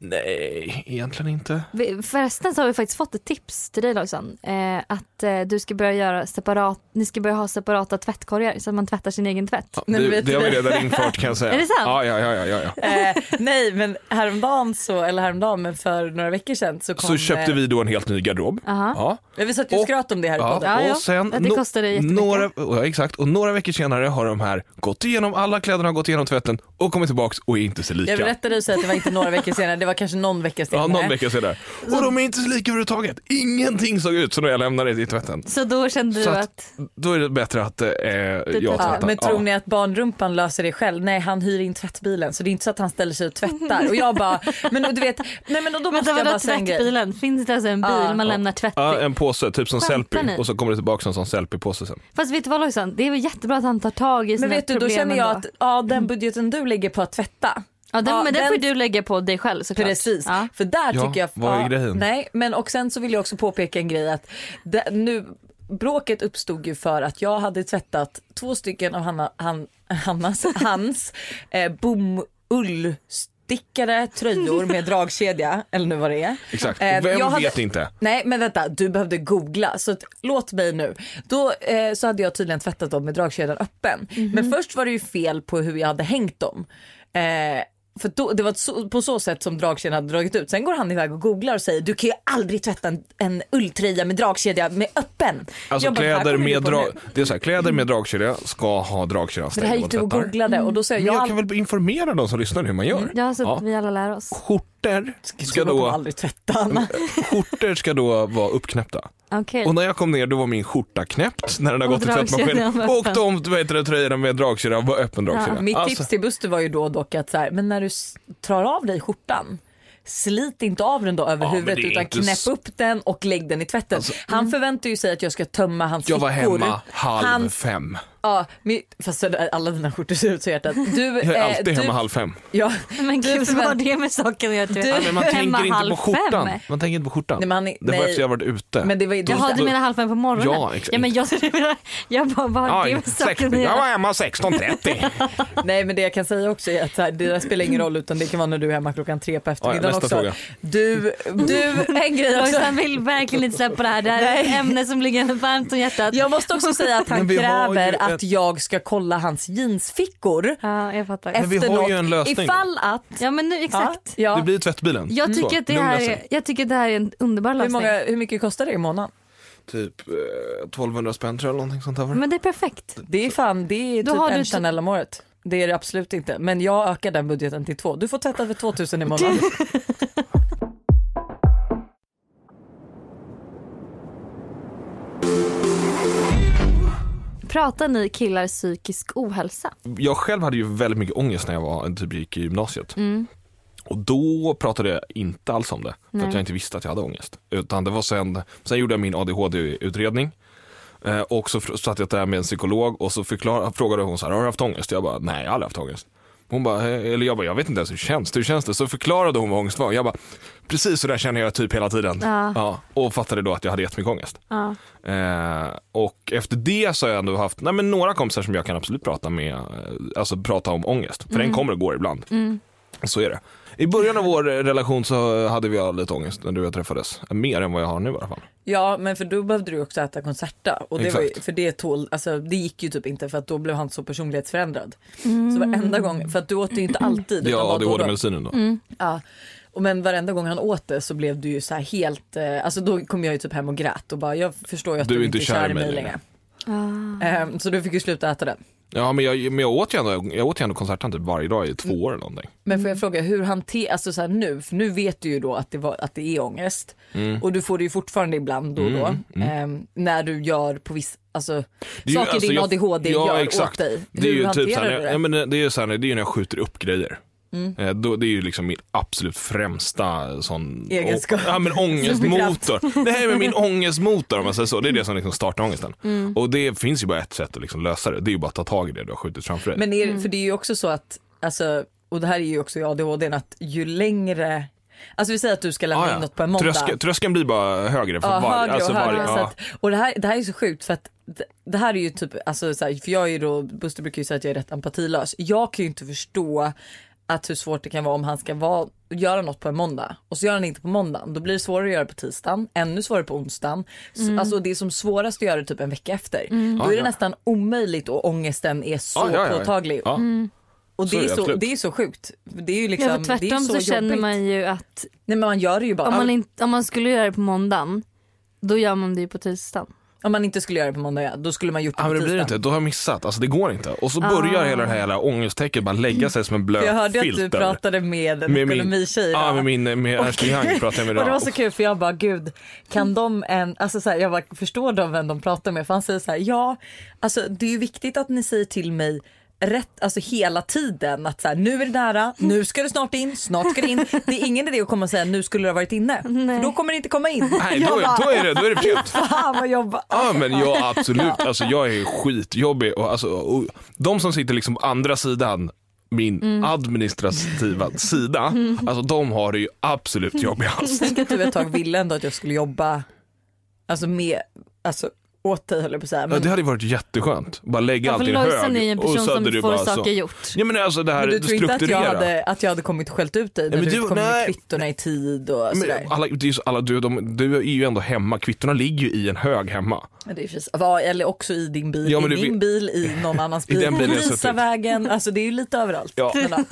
Speaker 4: Nej, egentligen inte.
Speaker 1: Vi- Förresten så har vi faktiskt fått ett tips till dig Lojsan. Eh, att eh, du ska börja göra separat, ni ska börja ha separata tvättkorgar så att man tvättar sin egen tvätt.
Speaker 4: Ja,
Speaker 2: Nej, men
Speaker 4: det,
Speaker 2: vet
Speaker 4: det har vi
Speaker 2: du-
Speaker 4: redan infört kan jag säga.
Speaker 1: Är det sant?
Speaker 4: Ja, ja, ja, ja, ja, ja.
Speaker 2: Eh, nej men häromdagen så, eller häromdagen men för några veckor sedan så kom
Speaker 4: Så köpte vi då en helt ny garderob.
Speaker 1: Aha.
Speaker 4: Ja,
Speaker 2: eh, Vi satt ju och
Speaker 4: Och-
Speaker 2: skröt om det här i podden.
Speaker 1: Ja,
Speaker 4: ja.
Speaker 1: ja.
Speaker 4: Och sen
Speaker 1: Ja, det
Speaker 4: no-
Speaker 1: kostade jättemycket.
Speaker 4: några, ja, exakt. Och några veckor senare har de här gått igenom, alla kläderna har gått igenom tvätten och kommit tillbaks och är inte så lika.
Speaker 2: Jag berättade ju så att det var inte några veckor senare, det var kanske någon vecka senare.
Speaker 4: Ja, någon vecka senare. Och de är inte så lika överhuvudtaget. Ingenting såg ut som när jag lämnade det i tvätten.
Speaker 1: Så då kände
Speaker 4: Så
Speaker 1: du
Speaker 4: att-
Speaker 1: att,
Speaker 4: Då är det bättre att eh, jag
Speaker 1: tvättar.
Speaker 4: tvättar.
Speaker 2: typ- Ja, men tror ni att barnrumpan löser det själv? Nej, han hyr in tvättbilen så det är inte så att han ställer sig och tvättar. Och jag bara, men du vet, nej men och då måste
Speaker 1: vänta
Speaker 2: jag bara
Speaker 1: vadå
Speaker 2: säga en grej.
Speaker 1: tvättbilen? Finns det alltså en bil
Speaker 2: Ja.
Speaker 1: man lämnar tvätt i?
Speaker 4: Ja, en påse, typ som
Speaker 1: Skämtar
Speaker 4: selfie.
Speaker 1: ni?
Speaker 4: Och så kommer det tillbaka en sån selfie-påse sen.
Speaker 1: Fast vet du vad Lojsan, det är väl jättebra att han tar tag i sina
Speaker 2: Men vet du, då
Speaker 1: problem
Speaker 2: känner jag
Speaker 1: ändå.
Speaker 2: att ja, den budgeten du lägger på att tvätta,
Speaker 1: Ja, den,
Speaker 2: ja,
Speaker 1: men den,
Speaker 2: den-
Speaker 1: får ju du lägga på dig själv såklart.
Speaker 2: Precis,
Speaker 1: Ja.
Speaker 2: för där
Speaker 4: Ja,
Speaker 2: tycker jag...
Speaker 4: vad är grejen?
Speaker 2: Nej, men och sen så vill jag också påpeka en grej att det, nu, bråket uppstod ju för att jag hade tvättat två stycken av Hanna, han, Hannas, hans eh, bomull uppstickade tröjor med dragkedja, eller nu vad det är.
Speaker 4: Exakt.
Speaker 2: Eh,
Speaker 4: Vem
Speaker 2: jag hade-
Speaker 4: vet inte?
Speaker 2: Nej men vänta, du behövde googla så att, låt mig nu. Då eh, så hade jag tydligen tvättat dem med dragkedjan öppen. Men först var det ju fel på hur jag hade hängt dem. Eh, för då, det var så, på så sätt som dragkedjan hade dragit ut. Sen går han iväg och googlar och säger du kan ju aldrig tvätta en, en ulltröja med dragkedja med öppen.
Speaker 4: Alltså
Speaker 2: Jag bara, "Det här
Speaker 4: kläder
Speaker 2: kommer du
Speaker 4: med,
Speaker 2: på
Speaker 4: drag...
Speaker 2: nu."
Speaker 4: det är så här, kläder med dragkedja ska ha dragkedjan
Speaker 2: Så det här gick du och
Speaker 4: tvättar. Mm.
Speaker 2: googlade och då sa jag,
Speaker 4: Men
Speaker 2: jag, Mm,
Speaker 4: jag
Speaker 2: jag
Speaker 4: kan väl informera de som lyssnar hur man gör?
Speaker 1: Ja, så att vi alla lär oss.
Speaker 4: Skjortor ska
Speaker 2: kommer
Speaker 4: då, Mm.
Speaker 2: aldrig tvätta Anna.
Speaker 4: skjortor ska då vara uppknäppta.
Speaker 1: Okej.
Speaker 4: Och när jag kom ner då var min skjorta knäppt när den har
Speaker 1: Och
Speaker 4: gått i tvättmaskinen.
Speaker 1: dragkedjan var
Speaker 4: Och
Speaker 1: öppen.
Speaker 4: de vad heter det, tröjorna med dragkedja var öppen dragkedja.
Speaker 1: Ja,
Speaker 2: Mitt
Speaker 4: Alltså,
Speaker 2: tips till Buster var ju då dock att så här, men när du s- tar av dig skjortan Slit inte av den då över
Speaker 4: Ja, men
Speaker 2: huvudet
Speaker 4: det är
Speaker 2: utan
Speaker 4: inte
Speaker 2: knäpp
Speaker 4: s- Alltså, mm.
Speaker 2: upp den och lägg den i tvätten. han förväntar ju sig att jag ska tömma hans
Speaker 4: jag var
Speaker 2: fickor.
Speaker 4: hemma halv
Speaker 2: Han,
Speaker 1: Eh,
Speaker 4: fem.
Speaker 2: ja, men, fast så där, alla dina skjortor ser ut så hjärtat. Du,
Speaker 4: Jag är
Speaker 2: eh,
Speaker 4: alltid
Speaker 2: du,
Speaker 4: hemma halv fem.
Speaker 2: Ja,
Speaker 1: Men
Speaker 2: du
Speaker 1: gud, vad har
Speaker 2: förvänt-
Speaker 1: det med saken att göra? tror jag?
Speaker 2: Du-
Speaker 4: Men man
Speaker 1: Hemma
Speaker 4: tänker inte
Speaker 1: halv
Speaker 4: på skjortan.
Speaker 1: fem.
Speaker 4: Man tänker inte på skjortan.
Speaker 2: Nej, men han är-
Speaker 4: det var
Speaker 2: nej.
Speaker 4: efter jag varit ute.
Speaker 2: men det var ju
Speaker 1: Jaha, du
Speaker 4: då-
Speaker 1: menar halv fem på morgonen?
Speaker 4: Ja, exakt.
Speaker 1: ja men jag, jag bara, vad har det
Speaker 4: Aj,
Speaker 1: med saken
Speaker 4: 16.
Speaker 1: att
Speaker 4: Jag
Speaker 1: göra?
Speaker 4: var hemma 16.30.
Speaker 2: Nej men det jag kan säga också är att så här, det där spelar ingen roll utan det kan vara när du är hemma klockan tre på eftermiddagen
Speaker 4: nästa
Speaker 2: också.
Speaker 4: fråga.
Speaker 2: Du, du, en grej också.
Speaker 1: Lojsan vill verkligen inte släppa det här. Det här är ett ämne som ligger henne varmt om hjärtat.
Speaker 2: Jag måste också säga att
Speaker 4: Men
Speaker 2: han
Speaker 4: vi har ju
Speaker 2: kräver
Speaker 4: ett-
Speaker 2: att jag ska kolla hans jeansfickor.
Speaker 1: Ja, jag fattar.
Speaker 2: efter
Speaker 4: vi har ju
Speaker 2: något,
Speaker 4: en lösning.
Speaker 2: Ifall att...
Speaker 1: Ja men nu, exakt.
Speaker 2: Ja,
Speaker 4: Det blir tvättbilen. Mm.
Speaker 1: Jag, tycker
Speaker 4: Så,
Speaker 1: att det
Speaker 4: lugna
Speaker 1: här är,
Speaker 4: sig.
Speaker 1: jag tycker att det här är en underbar
Speaker 2: hur,
Speaker 1: lösning.
Speaker 2: många, hur mycket kostar det i månaden?
Speaker 4: Typ eh, 1200 spänn tror jag eller någonting sånt där. var det.
Speaker 1: Men det är perfekt.
Speaker 2: Det är fan, det är
Speaker 1: Då
Speaker 2: typ
Speaker 1: har
Speaker 2: en
Speaker 1: du-
Speaker 2: Chanel om året. Det är det absolut inte. Men jag ökar den budgeten till två. Du får tvätta för 2000 i månaden.
Speaker 1: Pratar ni killar psykisk ohälsa?
Speaker 4: Jag själv hade ju väldigt mycket ångest när jag var en typ gick i gymnasiet. Och då pratade jag inte alls om det, för att jag inte visste att jag hade ångest. Utan det var sen, sen gjorde jag min ADHD-utredning. eh, Och så fr- satt jag där med en psykolog och så förklar, frågade hon så här, har du haft ångest? Jag bara, nej jag har aldrig haft ångest. Hon bara, "Eh," eller jag bara, jag vet inte ens hur det känns, hur känns det? Så förklarade hon vad ångest var. Jag bara, precis så där känner jag typ hela tiden.
Speaker 1: Ja.
Speaker 4: Ja, och fattade då att jag hade jättemycket ångest.
Speaker 1: Ja.
Speaker 4: Eh, och efter det så har jag ändå haft nej, men några kompisar som jag kan absolut prata med, eh, alltså prata om ångest. För den kommer och går ibland. Så är det. I början av vår eh, relation så hade vi lite ångest när du och jag träffades. Mer än vad jag har nu i alla fall.
Speaker 2: ja, men för då behövde du också äta konserta. Och det var ju,
Speaker 4: Exakt.
Speaker 2: för det, tål, alltså, det gick ju typ inte för att då blev han så personlighetsförändrad. Så
Speaker 1: Mm.
Speaker 2: varenda gång, för att du åt ju inte alltid. utan
Speaker 4: Ja,
Speaker 2: bara då och då.
Speaker 4: ADHD-medicinen då.
Speaker 2: Ja. Och men varenda gång han åt det så blev du ju så här helt, eh, alltså då kom jag ju typ hem och grät och bara jag förstår ju att
Speaker 4: Du
Speaker 2: du,
Speaker 4: är
Speaker 2: inte är kär i mig längre. Ehm, så du fick ju sluta äta den.
Speaker 4: Ja, men jag, men jag åt ju ändå, jag åt ju ändå konserten typ varje dag i två år eller någonting.
Speaker 2: Men får jag fråga hur hanterar, alltså så här nu, för nu vet du ju då att det, var, att det är ångest
Speaker 4: Mm.
Speaker 2: och du får det ju fortfarande ibland då och då ehm, när du gör på viss, alltså
Speaker 4: Det är ju-
Speaker 2: saker
Speaker 4: alltså,
Speaker 2: din
Speaker 4: jag-
Speaker 2: ADHD
Speaker 4: ja,
Speaker 2: gör
Speaker 4: exakt.
Speaker 2: åt dig.
Speaker 4: Det är
Speaker 2: hur
Speaker 4: ju
Speaker 2: hanterar
Speaker 4: typ såhär,
Speaker 2: du
Speaker 4: när-
Speaker 2: det? Mm.
Speaker 4: ja, men det är ju såhär, det är ju när jag skjuter upp grejer. Eh, Då, det är ju liksom min absolut främsta sån
Speaker 2: Egenskap.
Speaker 4: å- ja, men ångestmotor. det här är min ångestmotor om man säger så. Det är det som liksom startar ångesten.
Speaker 2: Mm.
Speaker 4: Och det finns ju bara ett sätt att liksom lösa det. Det är ju bara att ta tag i det du har skjutit framför dig.
Speaker 2: Men är, för det är ju också så att, alltså, och det här är ju också i ADHD, n, att ju längre, alltså vi säger att du ska lämna
Speaker 4: Ah,
Speaker 2: in
Speaker 4: ja.
Speaker 2: något på en måndag.
Speaker 4: Tröskeln, tröskeln blir bara högre för
Speaker 2: Ja,
Speaker 4: varje.
Speaker 2: högre
Speaker 4: alltså
Speaker 2: och högre.
Speaker 4: varje-
Speaker 2: så
Speaker 4: ja.
Speaker 2: att, och det här, det här är så sjukt för att det- det här är ju typ, alltså, så här, för jag är ju då, Buster brukar ju säga att jag är rätt empatilös. Jag kan ju inte förstå att hur svårt det kan vara om han ska vara, göra något på en måndag och så gör han det inte på måndagen. Då blir det svårare att göra på tisdagen, ännu svårare på onsdagen. Så, alltså det är som svårast att göra det typ en vecka efter. Då är
Speaker 4: Mm. Ja,
Speaker 2: det
Speaker 4: ja.
Speaker 2: nästan omöjligt och ångesten är så
Speaker 4: Ja, ja, ja.
Speaker 2: påtaglig.
Speaker 4: Ja.
Speaker 2: Och
Speaker 4: Så
Speaker 2: det
Speaker 4: är
Speaker 2: är
Speaker 4: det
Speaker 2: så,
Speaker 4: absolut.
Speaker 2: det är så sjukt. Det är ju liksom,
Speaker 1: Ja, för
Speaker 2: det är
Speaker 1: tvärtom
Speaker 2: så,
Speaker 1: så, känner
Speaker 2: jobbigt.
Speaker 1: man ju att
Speaker 2: Nej men man gör det ju bara.
Speaker 1: om man, inte, om man skulle göra det på måndagen då gör man det ju på tisdagen.
Speaker 2: Om man inte skulle göra det på måndag, ja, då skulle man gjort det
Speaker 4: Ja,
Speaker 2: på
Speaker 4: men det blir det
Speaker 2: tisdagen.
Speaker 4: inte, då har jag missat. Alltså det går inte. Och så börjar hela det här jävla ångesttäcket bara lägga sig som en blöt
Speaker 2: Ah. För jag hörde
Speaker 4: filter.
Speaker 2: att du pratade med en
Speaker 4: Med min-
Speaker 2: ekonomitjej
Speaker 4: Ja,
Speaker 2: idag.
Speaker 4: med min, med Ernst Young pratade jag med
Speaker 2: Och det
Speaker 4: idag.
Speaker 2: var så kul för jag bara gud, kan de en, alltså så här, jag bara förstår de vem de pratar med? För han säger så här, ja, alltså det är ju viktigt att ni säger till mig rätt, alltså hela tiden att så här, nu är det nära, nu ska det snart in, snart ska det in. Det är ingen idé att komma och säga nu skulle det ha varit inne, för då kommer det inte komma in.
Speaker 4: Nej,
Speaker 2: jag
Speaker 4: då,
Speaker 2: bara,
Speaker 4: är- då är det, då är det för sent.
Speaker 2: fan vad jobba.
Speaker 4: Ja men jag absolut, alltså jag är skitjobbig och alltså, och de som sitter liksom på andra sidan min
Speaker 2: Mm.
Speaker 4: administrativa sida, alltså de har det ju absolut jobbigast.
Speaker 2: Tänk att du ett tag ville ändå att jag skulle jobba, alltså med, alltså åt dig höll jag på att säga.
Speaker 4: Ja,
Speaker 2: Men,
Speaker 4: det hade ju varit jätteskönt. Bara lägga allt i
Speaker 1: Varför
Speaker 4: en
Speaker 1: Lojsan är ju
Speaker 4: hög
Speaker 1: en
Speaker 4: och
Speaker 1: person
Speaker 4: så hade
Speaker 1: som
Speaker 4: du
Speaker 1: får
Speaker 4: bara
Speaker 1: saker
Speaker 4: så.
Speaker 1: gjort.
Speaker 4: Ja men alltså det här
Speaker 2: men du tror inte att jag,
Speaker 4: strukturera.
Speaker 2: hade, att jag hade kommit och skällt ut dig när
Speaker 4: men
Speaker 2: du
Speaker 4: du-
Speaker 2: inte kom in med
Speaker 4: nej.
Speaker 2: kvittorna i tid och
Speaker 4: Men
Speaker 2: sådär.
Speaker 4: alla, det är ju så, alla, du, de, du är ju ändå hemma, kvittorna ligger ju i en hög hemma.
Speaker 2: Men det är precis, vad- eller också i din bil,
Speaker 4: Ja, men
Speaker 2: i
Speaker 4: du
Speaker 2: min
Speaker 4: vet-
Speaker 2: bil, i någon annans
Speaker 4: I
Speaker 2: bil,
Speaker 4: den bilen jag suttit.
Speaker 2: Lisavägen, alltså det är ju lite överallt.
Speaker 4: Ja.
Speaker 2: Men, ja.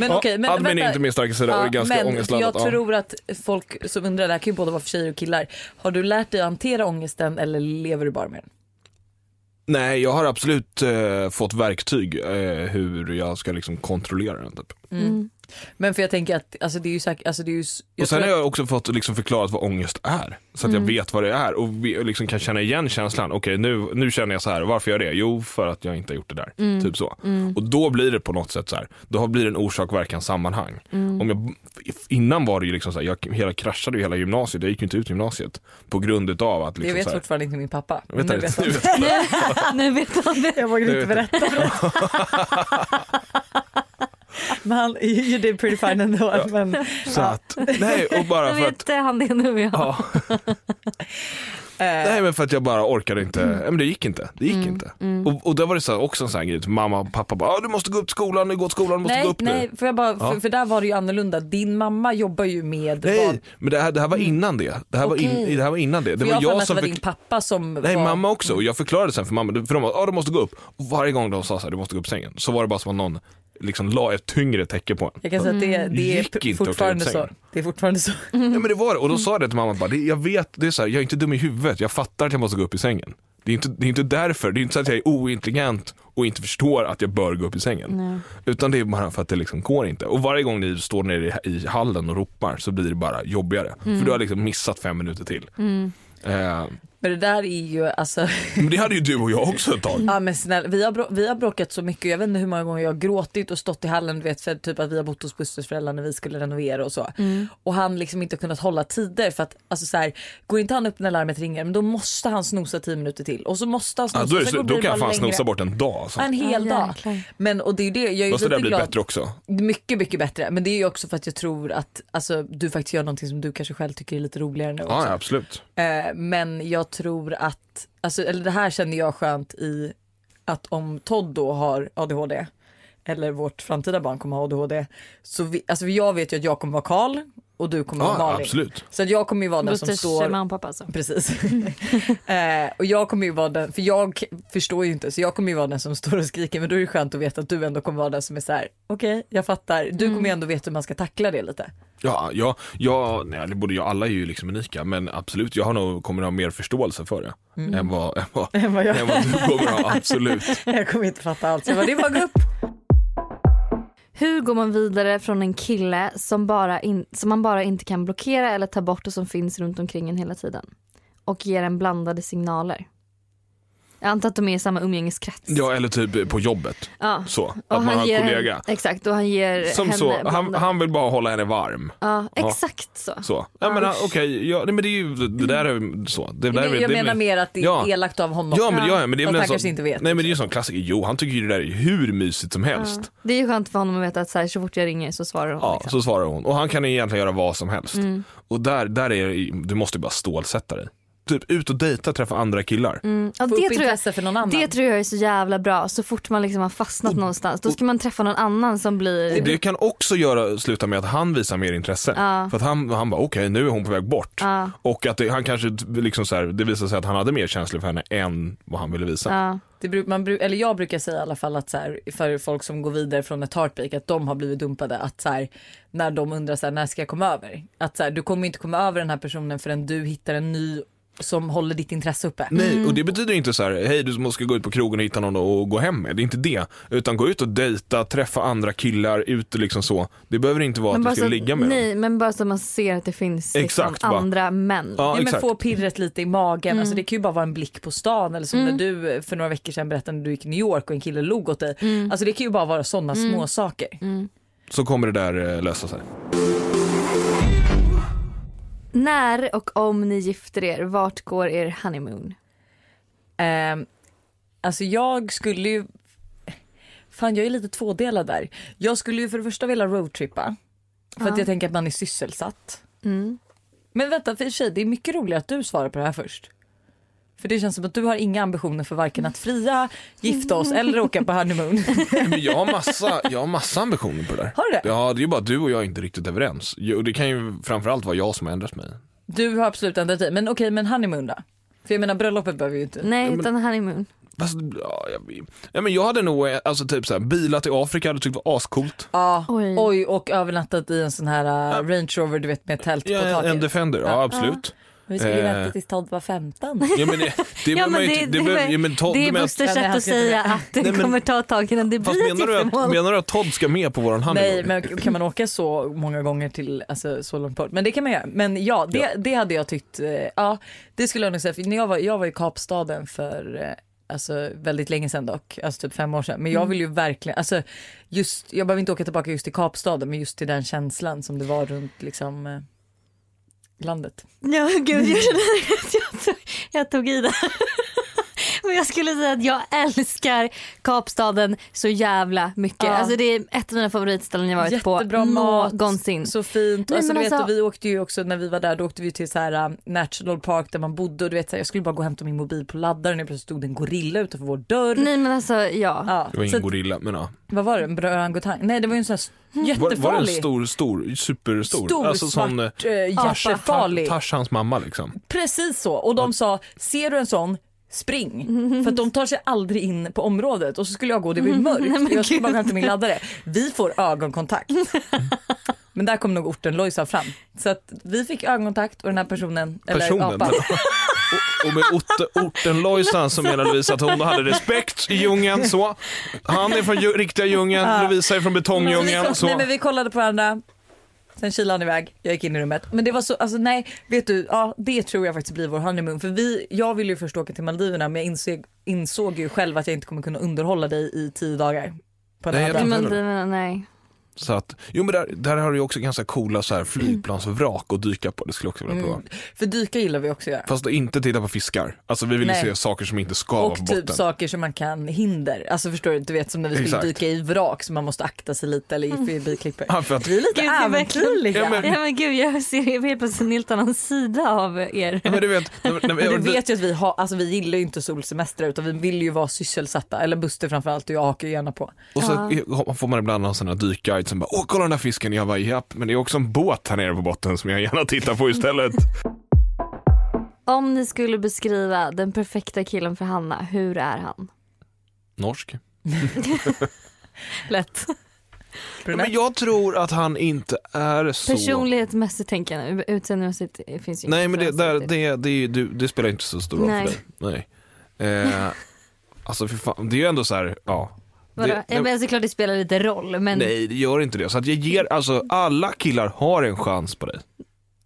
Speaker 2: men
Speaker 4: Ja,
Speaker 2: okej, men
Speaker 4: admin
Speaker 2: vänta.
Speaker 4: är inte min starka sida och är ganska
Speaker 2: men
Speaker 4: ångestladdat.
Speaker 2: jag tror att folk som undrar, det här kan ju både vara för tjejer och killar. Har du lärt dig att hantera ångesten eller lever du bara med den?
Speaker 4: Nej, jag har absolut eh, fått verktyg eh, hur jag ska liksom kontrollera den. Typ.
Speaker 1: Mm.
Speaker 2: Men för jag tänker att alltså, det är ju säkert, alltså, det är ju, s- jag
Speaker 4: Och sen
Speaker 2: tror Mm.
Speaker 4: har jag också fått liksom förklarat vad ångest är. Så att jag vet vad det är och vi- och liksom kan känna igen känslan. Okej, nu, nu känner jag så här. Varför gör jag det? Jo, för att jag inte har gjort det där.
Speaker 1: Mm.
Speaker 2: Mm.
Speaker 4: Typ så. Och då blir det på något sätt så här. Då blir det en orsak, verkan, sammanhang.
Speaker 2: Mm.
Speaker 1: Mm.
Speaker 4: Om jag, innan var det ju liksom så här. Jag hela, kraschade ju hela gymnasiet. Jag gick ju inte ut gymnasiet. På grund utav att
Speaker 2: jag
Speaker 4: liksom
Speaker 2: vet
Speaker 4: så här,
Speaker 2: fortfarande inte min pappa.
Speaker 4: Jag vet
Speaker 2: Nu
Speaker 4: inte.
Speaker 2: vet jag.
Speaker 4: Nu vet
Speaker 1: Nu vet han det.
Speaker 2: Jag vågar
Speaker 4: Nu
Speaker 2: inte
Speaker 4: vet
Speaker 2: berätta för honom. Men han, you you did pretty fine ändå. Men,
Speaker 4: Så att, nej, och bara
Speaker 1: Nu
Speaker 4: för att
Speaker 1: vet han det nu ja.
Speaker 4: Ja.
Speaker 2: eh,
Speaker 4: Nej men för att jag bara orkade inte,
Speaker 2: Mm.
Speaker 4: Nej, men det gick inte. Det gick
Speaker 1: Mm.
Speaker 4: inte. Och, och där var det så här, också en sån här grej, typ mamma och pappa bara, "Ah, du måste gå upp till skolan, du går till skolan, du måste gå
Speaker 2: nej,
Speaker 4: upp
Speaker 2: nej
Speaker 4: nu.
Speaker 2: för, jag bara, för,
Speaker 4: Ja.
Speaker 2: för där var det ju annorlunda. Din mamma jobbar ju med barn.
Speaker 4: Nej, men det här, det här var innan det. Det här, var,
Speaker 2: Mm. Okej.
Speaker 4: in, det här var innan det. Det
Speaker 2: För
Speaker 4: var
Speaker 2: jag,
Speaker 4: jag,
Speaker 2: jag att det
Speaker 4: som
Speaker 2: var
Speaker 4: fick...
Speaker 2: din pappa Mm. som
Speaker 4: Nej,
Speaker 2: var...
Speaker 4: mamma också. Och jag förklarade sen för mamma, för de bara, ah, du måste gå upp. Och varje gång de sa så här, du måste gå upp i sängen, så var det bara som att någon liksom la ett tyngre täcke på en.
Speaker 2: Jag kan säga att det, det
Speaker 4: Gick
Speaker 2: är
Speaker 4: inte att
Speaker 2: fortfarande
Speaker 4: kliva ur
Speaker 2: så.
Speaker 4: sängen.
Speaker 2: Det är fortfarande så.
Speaker 4: Ja, men det var det. Och då sa jag det till mamma, bara, det, jag vet, det är så här, jag är inte dum i huvudet, jag fattar att jag måste gå upp i sängen. Det är, inte, det är inte därför, det är inte så att jag är ointelligent och inte förstår att jag bör gå upp i sängen. Utan det är bara för att det liksom går inte. Och varje gång ni står nere i, i hallen och ropar så blir det bara jobbigare.
Speaker 2: Mm.
Speaker 4: För du har liksom missat fem minuter till. Eh,
Speaker 2: Men det där är ju alltså...
Speaker 4: men det hade ju du och jag också ett tag.
Speaker 2: Ja men snälla, vi har, brå- vi har bråkat så mycket. Jag vet inte hur många gånger jag har gråtit och stått i hallen. Du vet, för typ att vi har bott hos Busters föräldrar när vi skulle renovera och så.
Speaker 1: Mm.
Speaker 2: Och han liksom inte har kunnat hålla tider för att alltså så här, går inte han upp när larmet ringer men då måste han snosa 10 minuter till. Och så måste han snosa.
Speaker 4: Ja, då är det,
Speaker 2: sen
Speaker 4: slut.
Speaker 2: går-
Speaker 4: då kan jag
Speaker 2: blir
Speaker 4: fan
Speaker 2: det bara längre.
Speaker 4: snosa bort en dag. Alltså.
Speaker 2: Ja, En hel
Speaker 1: Ja,
Speaker 2: dag.
Speaker 1: jäklar.
Speaker 2: Men och det är ju det, jag är ju
Speaker 4: Då skulle det
Speaker 2: lite
Speaker 4: ha blivit
Speaker 2: glad.
Speaker 4: bättre också.
Speaker 2: Mycket, mycket bättre. Men det är ju också för att jag tror att alltså, du faktiskt gör någonting som du kanske själv tycker är lite roligare nu också.
Speaker 4: Ja, ja, absolut.
Speaker 2: Eh, men jag tror att, alltså, eller det här känner jag skönt i att om Todd då har ADHD eller vårt framtida barn kommer ha ADHD så vi, alltså jag vet ju att jag kommer vara Karl och du kommer
Speaker 4: Ja,
Speaker 2: vara Malin.
Speaker 4: absolut.
Speaker 2: Så att jag kommer ju vara den som
Speaker 1: Busters
Speaker 2: står
Speaker 1: mamma och pappa alltså.
Speaker 2: Precis. eh, och jag kommer ju vara den, för jag förstår ju inte, så jag kommer ju vara den som står och skriker, men då är det skönt att veta att du ändå kommer vara den som är så här, okej, jag fattar. Du kommer ju ändå veta hur man ska tackla det lite.
Speaker 4: Ja, jag, jag, nej, det borde jag, alla är ju liksom unika men absolut, jag har nog, kommer ha mer förståelse för det
Speaker 2: Mm.
Speaker 4: än, vad, än, vad,
Speaker 2: Än vad jag-
Speaker 4: än vad du kommer ha, absolut.
Speaker 2: Jag kommer inte fatta allt, så jag bara, det är bara att gå upp.
Speaker 1: Hur går man vidare från en kille som, bara in, som man bara inte kan blockera eller ta bort och som finns runt omkring en hela tiden? Och ger en blandade signaler. Jag antar att de är i samma umgängeskrets.
Speaker 4: Ja, eller typ på jobbet,
Speaker 1: Ja.
Speaker 4: så. Att
Speaker 1: Och
Speaker 4: man har en
Speaker 1: ger-
Speaker 4: kollega.
Speaker 1: Exakt, och han ger
Speaker 4: Som
Speaker 1: henne
Speaker 4: så, han,
Speaker 1: blandade-
Speaker 4: han vill bara hålla henne varm.
Speaker 1: Ja,
Speaker 4: Ja.
Speaker 1: exakt så.
Speaker 4: Så. Ja, men, okej, ja, nej, men det är ju, det där är ju så. Det där är,
Speaker 2: Nej,
Speaker 4: det
Speaker 2: jag menar
Speaker 4: blir-
Speaker 2: mer att det är
Speaker 4: Ja.
Speaker 2: elakt av honom.
Speaker 4: Ja men, ja, men det är
Speaker 2: Fast
Speaker 4: väl en
Speaker 2: han
Speaker 4: sån,
Speaker 2: kanske inte vet.
Speaker 4: Nej men det är ju en sån klassiker, jo han tycker ju det där är hur mysigt som helst.
Speaker 1: Det är ju skönt för honom att veta att så, här, så fort jag ringer så svarar hon.
Speaker 4: Ja,
Speaker 1: liksom. Mm.
Speaker 4: så svarar hon. Och han kan egentligen göra vad som helst. Och där, där är det- du måste ju bara stålsätta dig. Typ ut och dejta, träffa andra killar.
Speaker 1: Mm. ja, det
Speaker 2: Få upp
Speaker 1: tror jag
Speaker 2: intresse för någon annan.
Speaker 1: Det tror jag är så jävla bra. Så fort man liksom har fastnat någonstans då ska man träffa någon annan som blir...
Speaker 4: Och Mm. det kan också göra, sluta med att han visar mer intresse. För att han, han bara, okej nu är hon på väg bort. Och att det, han kanske, t- liksom så här, det visar sig att han hade mer känslor för henne än vad han ville visa.
Speaker 1: Ja.
Speaker 2: Det bru- man, bru- eller jag brukar säga i alla fall att så här, för folk som går vidare från ett heartbreak att de har blivit dumpade att så här, när de undrar så här, när ska jag komma över? Att så här, du kommer inte komma över den här personen förrän du hittar en ny som håller ditt intresse uppe.
Speaker 4: Nej,
Speaker 1: Mm.
Speaker 4: och det betyder inte så här, hej du måste gå ut på krogen och hitta någon och gå hem med. Det är inte det. Utan gå ut och dejta, träffa andra killar, ut och liksom så. Det behöver inte vara
Speaker 1: Men,
Speaker 4: att du
Speaker 1: bara
Speaker 4: ska
Speaker 1: så,
Speaker 4: ligga med dem.
Speaker 1: nej, men bara så att man ser att det finns liksom,
Speaker 4: Exakt, bara.
Speaker 1: andra män.
Speaker 4: Ja,
Speaker 2: Nej, men
Speaker 4: exakt.
Speaker 2: få pirret lite i magen. Alltså, det kan ju bara vara en blick på stan eller som när du eh, för några veckor sedan berättade när du gick i New York och en kille log åt dig. Alltså, det kan ju bara vara sådana små saker.
Speaker 4: Så kommer det där eh, lösa sig.
Speaker 1: När och om ni gifter er, vart går er honeymoon?
Speaker 2: Ehm, alltså jag skulle ju... Fan jag är lite tvådelad där. Jag skulle ju för det första vilja roadtrippa. För att jag tänker att man är
Speaker 1: Mm.
Speaker 2: sysselsatt. Men vänta för sig, det är mycket roligare att du svarar på det här först. För det känns som att du har inga ambitioner för varken att fria, gifta oss eller åka på honeymoon.
Speaker 4: Men jag har massa, jag har massa ambitioner på det där.
Speaker 2: Har du det?
Speaker 4: Ja, det är ju bara att du och jag är inte riktigt överens. Jo, Och det kan ju framförallt vara jag som har ändrat mig.
Speaker 2: Du har absolut ändrat dig. Men okej, men honeymoon då? För jag menar bröllopet behöver ju inte.
Speaker 1: Nej, utan honeymoon.
Speaker 4: Fast, ja, jag, ja, men jag hade nog, eh, alltså typ såhär, bilar till Afrika hade tyckt var ascoolt.
Speaker 2: Ja,
Speaker 1: Oj.
Speaker 2: oj. och övernattat i en sån här eh, Range Rover du vet med tält på
Speaker 4: Ja,
Speaker 2: taket.
Speaker 4: en Defender, ja absolut.
Speaker 2: Vi skulle ju
Speaker 4: Eh.
Speaker 2: vänta tills Todd var 15.
Speaker 4: Ja men det, det behöver man ju inte, det behöver, ja, men Todd,
Speaker 1: det är
Speaker 4: men,
Speaker 1: Busters
Speaker 2: Ja, men
Speaker 1: sätt
Speaker 2: han
Speaker 1: att
Speaker 2: ska inte
Speaker 1: säga
Speaker 2: det.
Speaker 1: att det
Speaker 4: Nej, men-
Speaker 1: kommer ta ett tag innan det
Speaker 4: fast
Speaker 1: blir ett
Speaker 4: menar du, att,
Speaker 1: giftermål.
Speaker 4: menar du att Todd ska med på våran honeymoon?
Speaker 2: Nej, men kan man åka så många gånger till alltså, så långt bort? Men det kan man göra. Men ja, det,
Speaker 4: Ja.
Speaker 2: det hade jag tyckt. eh, Ja, det skulle jag nog säga. För när jag, var, jag var i Kapstaden för eh, alltså, väldigt länge sedan dock, alltså typ fem år sedan. Men jag vill ju verkligen, alltså, just, jag behöver inte åka tillbaka just till Kapstaden, men just till den känslan som det var runt liksom, eh, landet.
Speaker 1: Ja, gud,
Speaker 2: Mm.
Speaker 1: jag känner att jag tog, jag tog i det. Men jag skulle säga att jag älskar Kapstaden så jävla mycket.
Speaker 2: Ja.
Speaker 1: Alltså det är ett av mina favoritställen jag varit
Speaker 2: Jättebra
Speaker 1: på
Speaker 2: mat,
Speaker 1: någonsin.
Speaker 2: Så fint.
Speaker 1: Nej,
Speaker 2: alltså,
Speaker 1: men
Speaker 2: du vet,
Speaker 1: alltså-
Speaker 2: och vi åkte ju också när vi var där, då åkte vi till så här, äh, National Park där man bodde och du vet, så här, jag skulle bara gå och hämta min mobil på laddaren och plötsligt stod det en gorilla utanför vår dörr.
Speaker 1: Nej men alltså ja.
Speaker 2: Ja.
Speaker 4: Det var
Speaker 2: så,
Speaker 4: ingen
Speaker 2: att-
Speaker 4: gorilla men ja.
Speaker 2: vad var det? En orangutang? Nej det var ju en sån här
Speaker 4: Var,
Speaker 2: jättefarlig.
Speaker 4: var det en stor, stor, superstor?
Speaker 2: Stor,
Speaker 4: eh,
Speaker 2: svart, eh,
Speaker 4: Tarzan-
Speaker 2: jättefarlig.
Speaker 4: Tarzans mamma liksom.
Speaker 2: Precis så. Och de sa, ser du en sån, spring.
Speaker 4: Mm.
Speaker 2: För att de tar sig aldrig in på området. Och så skulle jag gå, det var ju mörkt. Jag skulle bara hämta min laddare. Vi får ögonkontakt. Men där kom nog orten Lojsa fram. Så att vi fick ögonkontakt och den här personen, eller
Speaker 4: Personen.
Speaker 2: apan.
Speaker 4: Och- Och med Otte, orten Lojsan som menar Lovisa att hon hade respekt i djungeln så. Han är från ju, riktiga djungeln, Lovisa är från betongdjungeln så.
Speaker 2: Nej men vi kollade på varandra. Sen kilade han iväg, jag gick in i rummet. Men det var så, alltså nej, vet du, ja, det tror jag faktiskt blir vår honeymoon. För vi, jag ville ju först åka till Maldiverna men jag insåg, insåg ju själv att jag inte kommer kunna underhålla dig i tio dagar. På en
Speaker 4: Nej, jag
Speaker 2: öde ö.
Speaker 4: tror-
Speaker 1: Men, men, nej.
Speaker 4: så att, jo men där, där har du ju också ganska coola så här flygplansvrak att dyka på, det skulle jag också vilja prova.
Speaker 2: Mm. För dyka gillar vi också att göra.
Speaker 4: Fast inte titta på fiskar, alltså vi vill ju
Speaker 2: Nej.
Speaker 4: se saker som inte ska vara på
Speaker 2: Och typ
Speaker 4: botten.
Speaker 2: saker som man kan hinder. Alltså förstår du, du vet som när vi skulle
Speaker 4: Exakt.
Speaker 2: dyka i vrak så man måste akta sig lite eller i förbiklipper.
Speaker 4: Ja, för att,
Speaker 2: Mm. Vi är lite
Speaker 1: Gud, det är verkligen-
Speaker 2: äventyrliga.
Speaker 4: Ja, men-
Speaker 1: Ja men gud jag ser jag är helt plötsligt en helt annan sida av er.
Speaker 4: ja, men du vet, när, när,
Speaker 2: Men du vet ju att vi, har, alltså vi gillar ju inte solsemestrar utan vi vill ju vara sysselsatta. Eller Buster framförallt och jag hakar ju gärna på.
Speaker 4: och så får man ibland en sån här dykguide som bara åh kolla den här fisken, jag bara japp, men det är också en båt här nere på botten som jag gärna tittar på istället.
Speaker 1: Om ni skulle beskriva den perfekta killen för Hanna, hur är han?
Speaker 4: Norsk.
Speaker 1: Lätt.
Speaker 4: Ja, men jag tror att han inte är så...
Speaker 1: Personlighetsmässigt tänker jag nu, utseendemässigt finns ju
Speaker 4: Nej
Speaker 1: inget
Speaker 4: men det,
Speaker 1: för oss
Speaker 4: där,
Speaker 1: riktigt.
Speaker 4: det, det, är ju- du- det spelar inte så stor roll
Speaker 1: typ. Nej.
Speaker 4: för dig. Nej. Eh, alltså för fan, det är ju ändå så här, ja.
Speaker 1: Vadå?
Speaker 4: Det-
Speaker 1: ja, men såklart det spelar lite roll men,
Speaker 4: Nej det gör inte det. Så att jag ger, alltså alla killar har en chans på dig.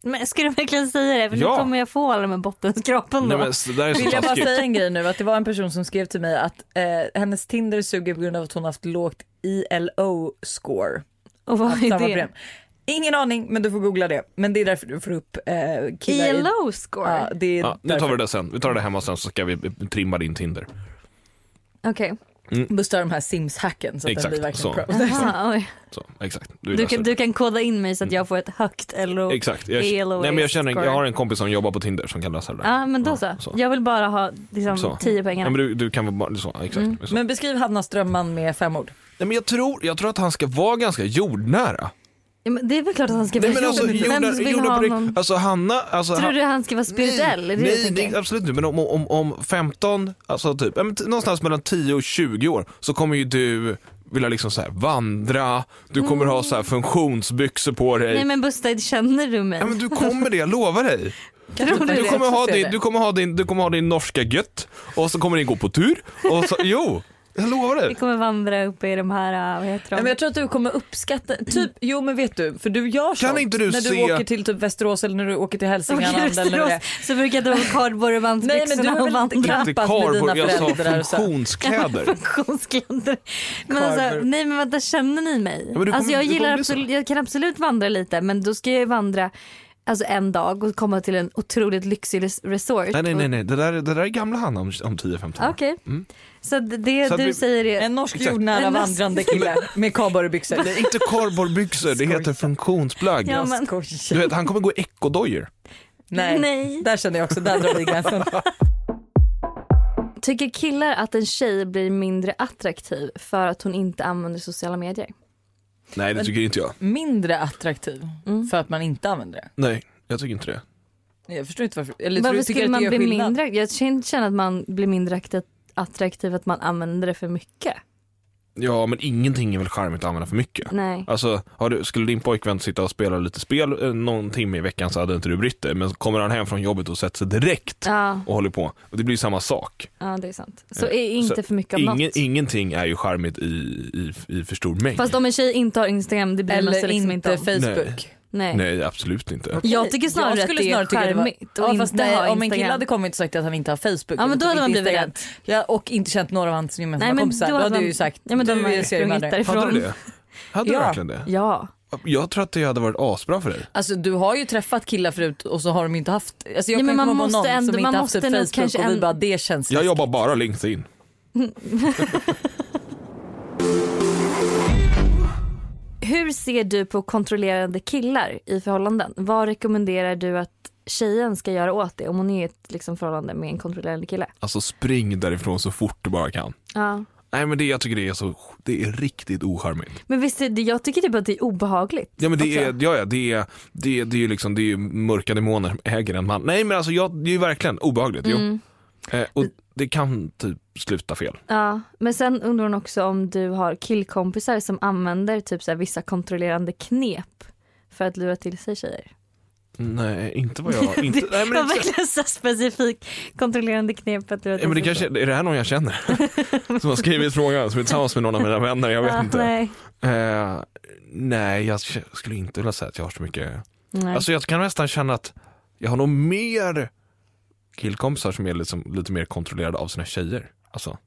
Speaker 1: men ska du verkligen säga det? För
Speaker 4: Ja.
Speaker 1: nu kommer jag få alla de här bottenskrapen då.
Speaker 4: Nej men s- det där är så
Speaker 2: Vill jag bara
Speaker 4: taskigt.
Speaker 2: säga en grej nu att det var en person som skrev till mig att eh, hennes Tinder suger på grund av att hon haft lågt ILO-score.
Speaker 1: Och vad är
Speaker 2: Samma
Speaker 1: det?
Speaker 2: problem. Ingen aning men du får googla det. Men det är därför du får upp eh, killar i-
Speaker 1: ILO score?
Speaker 2: Ja, det är
Speaker 4: Ja, nu tar vi det sen. Vi tar det hemma sen så ska vi eh, trimma din Tinder.
Speaker 1: Okej,
Speaker 2: Buster har de här Sims-hacken så att
Speaker 4: Exakt,
Speaker 2: den blir verkligen
Speaker 4: så.
Speaker 2: pro.
Speaker 1: Jaha, oj.
Speaker 4: Så, exakt. är
Speaker 1: du,
Speaker 4: där
Speaker 1: kan,
Speaker 4: sen.
Speaker 1: du kan koda in mig så att jag får ett högt LO.
Speaker 4: Exakt. Jag,
Speaker 1: ELO
Speaker 4: nej, men jag, känner,
Speaker 1: score.
Speaker 4: jag har en kompis som jobbar på Tinder som kan lösa det där.
Speaker 1: Ja men då så.
Speaker 4: Ja, så.
Speaker 1: Jag vill bara ha liksom,
Speaker 4: Så.
Speaker 1: tio Mm.
Speaker 4: Ja,
Speaker 1: pengarna.
Speaker 4: men du, du kan väl bara, så, exakt. Så.
Speaker 2: Men beskriv Hannas drömman med fem ord.
Speaker 4: Nej, men jag, tror, jag tror att han ska vara ganska jordnära.
Speaker 1: Ja, men det är väl klart att han ska
Speaker 4: Nej
Speaker 1: vara
Speaker 4: men alltså,
Speaker 1: jorden.
Speaker 4: jordnära,
Speaker 1: Vem vill
Speaker 4: jordnära
Speaker 1: ha
Speaker 4: på riktigt.
Speaker 1: någon...
Speaker 4: Alltså Hanna, alltså
Speaker 1: Tror
Speaker 4: han-
Speaker 1: du han ska vara spirituell? är det det du
Speaker 4: Nej,
Speaker 1: tänker?
Speaker 4: nej alltså, absolut inte. Men om, om, om 15, alltså typ, ja, men t- någonstans mellan 10 och 20 år så kommer ju du vilja liksom så här vandra, du kommer ha så här funktionsbyxor på dig.
Speaker 1: Mm. Nej men Buster, känner du mig?
Speaker 4: Ja, men du kommer det, jag lovar dig.
Speaker 1: Tror du
Speaker 4: Du
Speaker 1: det?
Speaker 4: kommer,
Speaker 2: Jag
Speaker 4: ha
Speaker 2: ser
Speaker 4: din,
Speaker 2: det.
Speaker 4: du, kommer ha din, du kommer ha din norska gött och så kommer ni gå på tur. Och så, jo, jag lovar
Speaker 1: Vi
Speaker 4: dig.
Speaker 1: kommer vandra upp i de här, äh, vad heter de?
Speaker 2: Ja, men jag tror att du kommer uppskatta, typ, jo men vet du, för du gör sånt
Speaker 4: inte du
Speaker 2: när du
Speaker 4: se-
Speaker 2: åker till typ Västerås eller när du åker till
Speaker 1: Åker
Speaker 2: Hälsingland eller när det
Speaker 1: Västerås
Speaker 2: är.
Speaker 1: så brukar jag dra på
Speaker 2: Nej men du
Speaker 1: kardborrebandsbyxorna
Speaker 2: har
Speaker 1: och
Speaker 2: väl
Speaker 1: vandra.
Speaker 2: inte
Speaker 4: Inte
Speaker 2: knappat med dina
Speaker 4: cardboard, jag sa
Speaker 2: föräldrar där och så.
Speaker 4: funktionskläder.
Speaker 1: Funktionskläder. Men
Speaker 2: Karver.
Speaker 1: alltså, nej men vänta känner ni mig?
Speaker 4: men du
Speaker 1: alltså
Speaker 4: kommer-
Speaker 1: jag
Speaker 4: du kommer
Speaker 1: gillar
Speaker 4: bli så.
Speaker 1: absolut, jag kan absolut vandra lite men då ska jag ju vandra Alltså en dag och komma till en otroligt lyxig res- resort.
Speaker 4: Nej, nej, nej, nej. Det, där, det där är gamla Hanna om, om 10-15
Speaker 1: Och-
Speaker 4: år.
Speaker 1: Okej, så att det
Speaker 4: Så att
Speaker 1: du
Speaker 4: vi-
Speaker 1: säger är...
Speaker 2: En norsk
Speaker 4: Exakt.
Speaker 2: jordnära
Speaker 1: En norsk-
Speaker 2: vandrande kille med cowboybyxor.
Speaker 4: Det är inte cardboardbyxor, det heter funktionsplagg.
Speaker 1: Ja, men-
Speaker 4: Du
Speaker 2: Skojar.
Speaker 4: vet, han kommer gå i ekodojor.
Speaker 2: Nej.
Speaker 1: Nej.
Speaker 2: Där känner jag också, där drar vi gränsen.
Speaker 1: Tycker killar att en tjej blir mindre attraktiv för att hon inte använder sociala medier?
Speaker 4: Nej det tycker inte jag.
Speaker 2: Mindre attraktiv
Speaker 1: Mm.
Speaker 2: för att man inte använder det.
Speaker 4: Nej jag tycker inte det.
Speaker 2: Jag förstår inte varför. Eller tror
Speaker 1: Varför
Speaker 2: du tycker
Speaker 1: skulle
Speaker 2: att
Speaker 1: man
Speaker 2: det gör
Speaker 1: bli
Speaker 2: skillnad?
Speaker 1: mindre? Jag känner känner att man blir mindre akt- attraktiv att man använder det för mycket.
Speaker 4: Ja men ingenting är väl charmigt att använda för mycket.
Speaker 1: Nej.
Speaker 4: Alltså, har du, skulle din pojkvän sitta och spela lite spel eh, någon timme i veckan så hade inte du brytt dig. Men kommer han hem från jobbet och sätter sig direkt
Speaker 1: Ja,
Speaker 4: och håller på. Och det blir ju samma sak.
Speaker 1: ja, det är sant. Så är inte
Speaker 4: Eh, Så
Speaker 1: för mycket av
Speaker 4: Ingen,
Speaker 1: något.
Speaker 4: ingenting är ju charmigt i, i, i för stor mängd.
Speaker 1: Fast om en tjej inte har Instagram, det bryr man sig
Speaker 2: Eller
Speaker 1: liksom inte
Speaker 2: inte
Speaker 1: om.
Speaker 2: Facebook.
Speaker 1: Nej.
Speaker 4: Nej, absolut inte.
Speaker 1: Jag tycker snarare
Speaker 2: Jag
Speaker 1: att
Speaker 2: skulle
Speaker 1: det är
Speaker 2: snarare tycka det var-
Speaker 1: charmigt
Speaker 2: Ja,
Speaker 1: att
Speaker 2: fast
Speaker 1: inte
Speaker 2: nej,
Speaker 1: ha
Speaker 2: om en kille
Speaker 1: Instagram.
Speaker 2: hade kommit och sagt att han inte har Facebook
Speaker 1: Ja, men då hade man blivit rädd.
Speaker 2: ja, och inte känt några av hans gemensamma
Speaker 1: Nej, men
Speaker 2: kompisar
Speaker 1: då
Speaker 2: då
Speaker 1: hade
Speaker 2: hade jag
Speaker 1: man-
Speaker 2: ju sagt
Speaker 1: Ja, men då hade
Speaker 2: du
Speaker 1: man
Speaker 2: är
Speaker 1: sprungit
Speaker 2: seriemördare.
Speaker 1: därifrån.
Speaker 4: Hade du det? Hade du
Speaker 2: Ja.
Speaker 4: verkligen det?
Speaker 1: Ja.
Speaker 4: Jag tror att det hade varit asbra för dig.
Speaker 2: Alltså du har ju träffat killar förut och så har de ju inte haft, alltså
Speaker 1: Nej,
Speaker 2: jag kan
Speaker 1: men
Speaker 2: inte
Speaker 1: man
Speaker 2: komma på
Speaker 1: måste
Speaker 2: någon
Speaker 1: ändå-
Speaker 2: som
Speaker 1: man
Speaker 2: inte haft
Speaker 1: måste
Speaker 2: ett
Speaker 1: nog
Speaker 2: Facebook
Speaker 1: kanske
Speaker 2: och vi
Speaker 1: ändå-
Speaker 2: bara det känns
Speaker 4: Jag
Speaker 2: läskigt.
Speaker 4: jobbar bara LinkedIn.
Speaker 1: Hur ser du på kontrollerande killar i förhållanden? Vad rekommenderar du att tjejen ska göra åt det om hon är i ett liksom, förhållande med en kontrollerande kille?
Speaker 4: Alltså spring därifrån så fort du bara kan.
Speaker 1: Ja.
Speaker 4: Nej men det jag tycker det är så, det är riktigt ocharmigt.
Speaker 1: Men visst, är det, jag tycker typ att det är obehagligt.
Speaker 4: Ja men det
Speaker 1: också.
Speaker 4: är, ja, ja, det är, det är, det är ju liksom, det är ju mörka demoner som äger en man. Nej men alltså jag, det är ju verkligen obehagligt.
Speaker 1: Mm.
Speaker 4: Jo. Eh, och det kan typ sluta fel.
Speaker 1: Ja. Men sen undrar hon också om du har killkompisar som använder typ så här, vissa kontrollerande knep för att lura till sig tjejer.
Speaker 4: Nej inte vad jag, inte, nej,
Speaker 1: Det
Speaker 4: men
Speaker 1: var
Speaker 4: inte,
Speaker 1: verkligen så specifikt kontrollerande knep för att lura till
Speaker 4: Ja, men
Speaker 1: sig
Speaker 4: det kanske, är det här någon jag känner? som har skrivit frågan, som är tillsammans med någon av mina vänner, jag vet
Speaker 1: Ja,
Speaker 4: inte.
Speaker 1: Nej.
Speaker 4: Eh, nej, jag k- skulle inte vilja säga att jag har så mycket.
Speaker 1: Nej.
Speaker 4: Alltså jag kan nästan känna att jag har nog mer killkompisar som är liksom, lite mer kontrollerade av sina tjejer. Alltså,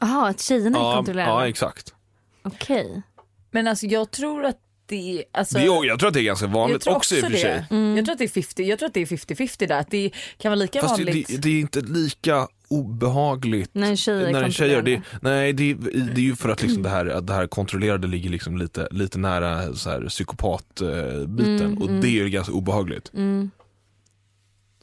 Speaker 1: Jaha, att tjejerna är
Speaker 4: ja, ja,
Speaker 1: kontrollerande?
Speaker 4: exakt.
Speaker 1: Okej.
Speaker 2: Men alltså jag tror att det, alltså,
Speaker 4: Det är, jag tror att det är ganska
Speaker 2: jag
Speaker 4: vanligt
Speaker 2: tror
Speaker 4: också,
Speaker 2: också
Speaker 4: i och för sig.
Speaker 2: det. Mm.
Speaker 1: Mm.
Speaker 2: Jag tror att det är 50, jag tror att det är 50-50 där, att det kan vara lika
Speaker 4: Fast det,
Speaker 2: vanligt.
Speaker 4: det, det är inte lika obehagligt
Speaker 1: När en tjej är
Speaker 4: när en tjej gör det.
Speaker 1: kontrollerande.
Speaker 4: Nej, det, det är ju för att liksom det, här, att det här kontrollerade ligger liksom lite, lite nära så här psykopatbiten
Speaker 1: Mm,
Speaker 4: och
Speaker 1: mm.
Speaker 4: det är ju ganska obehagligt.
Speaker 1: Mm.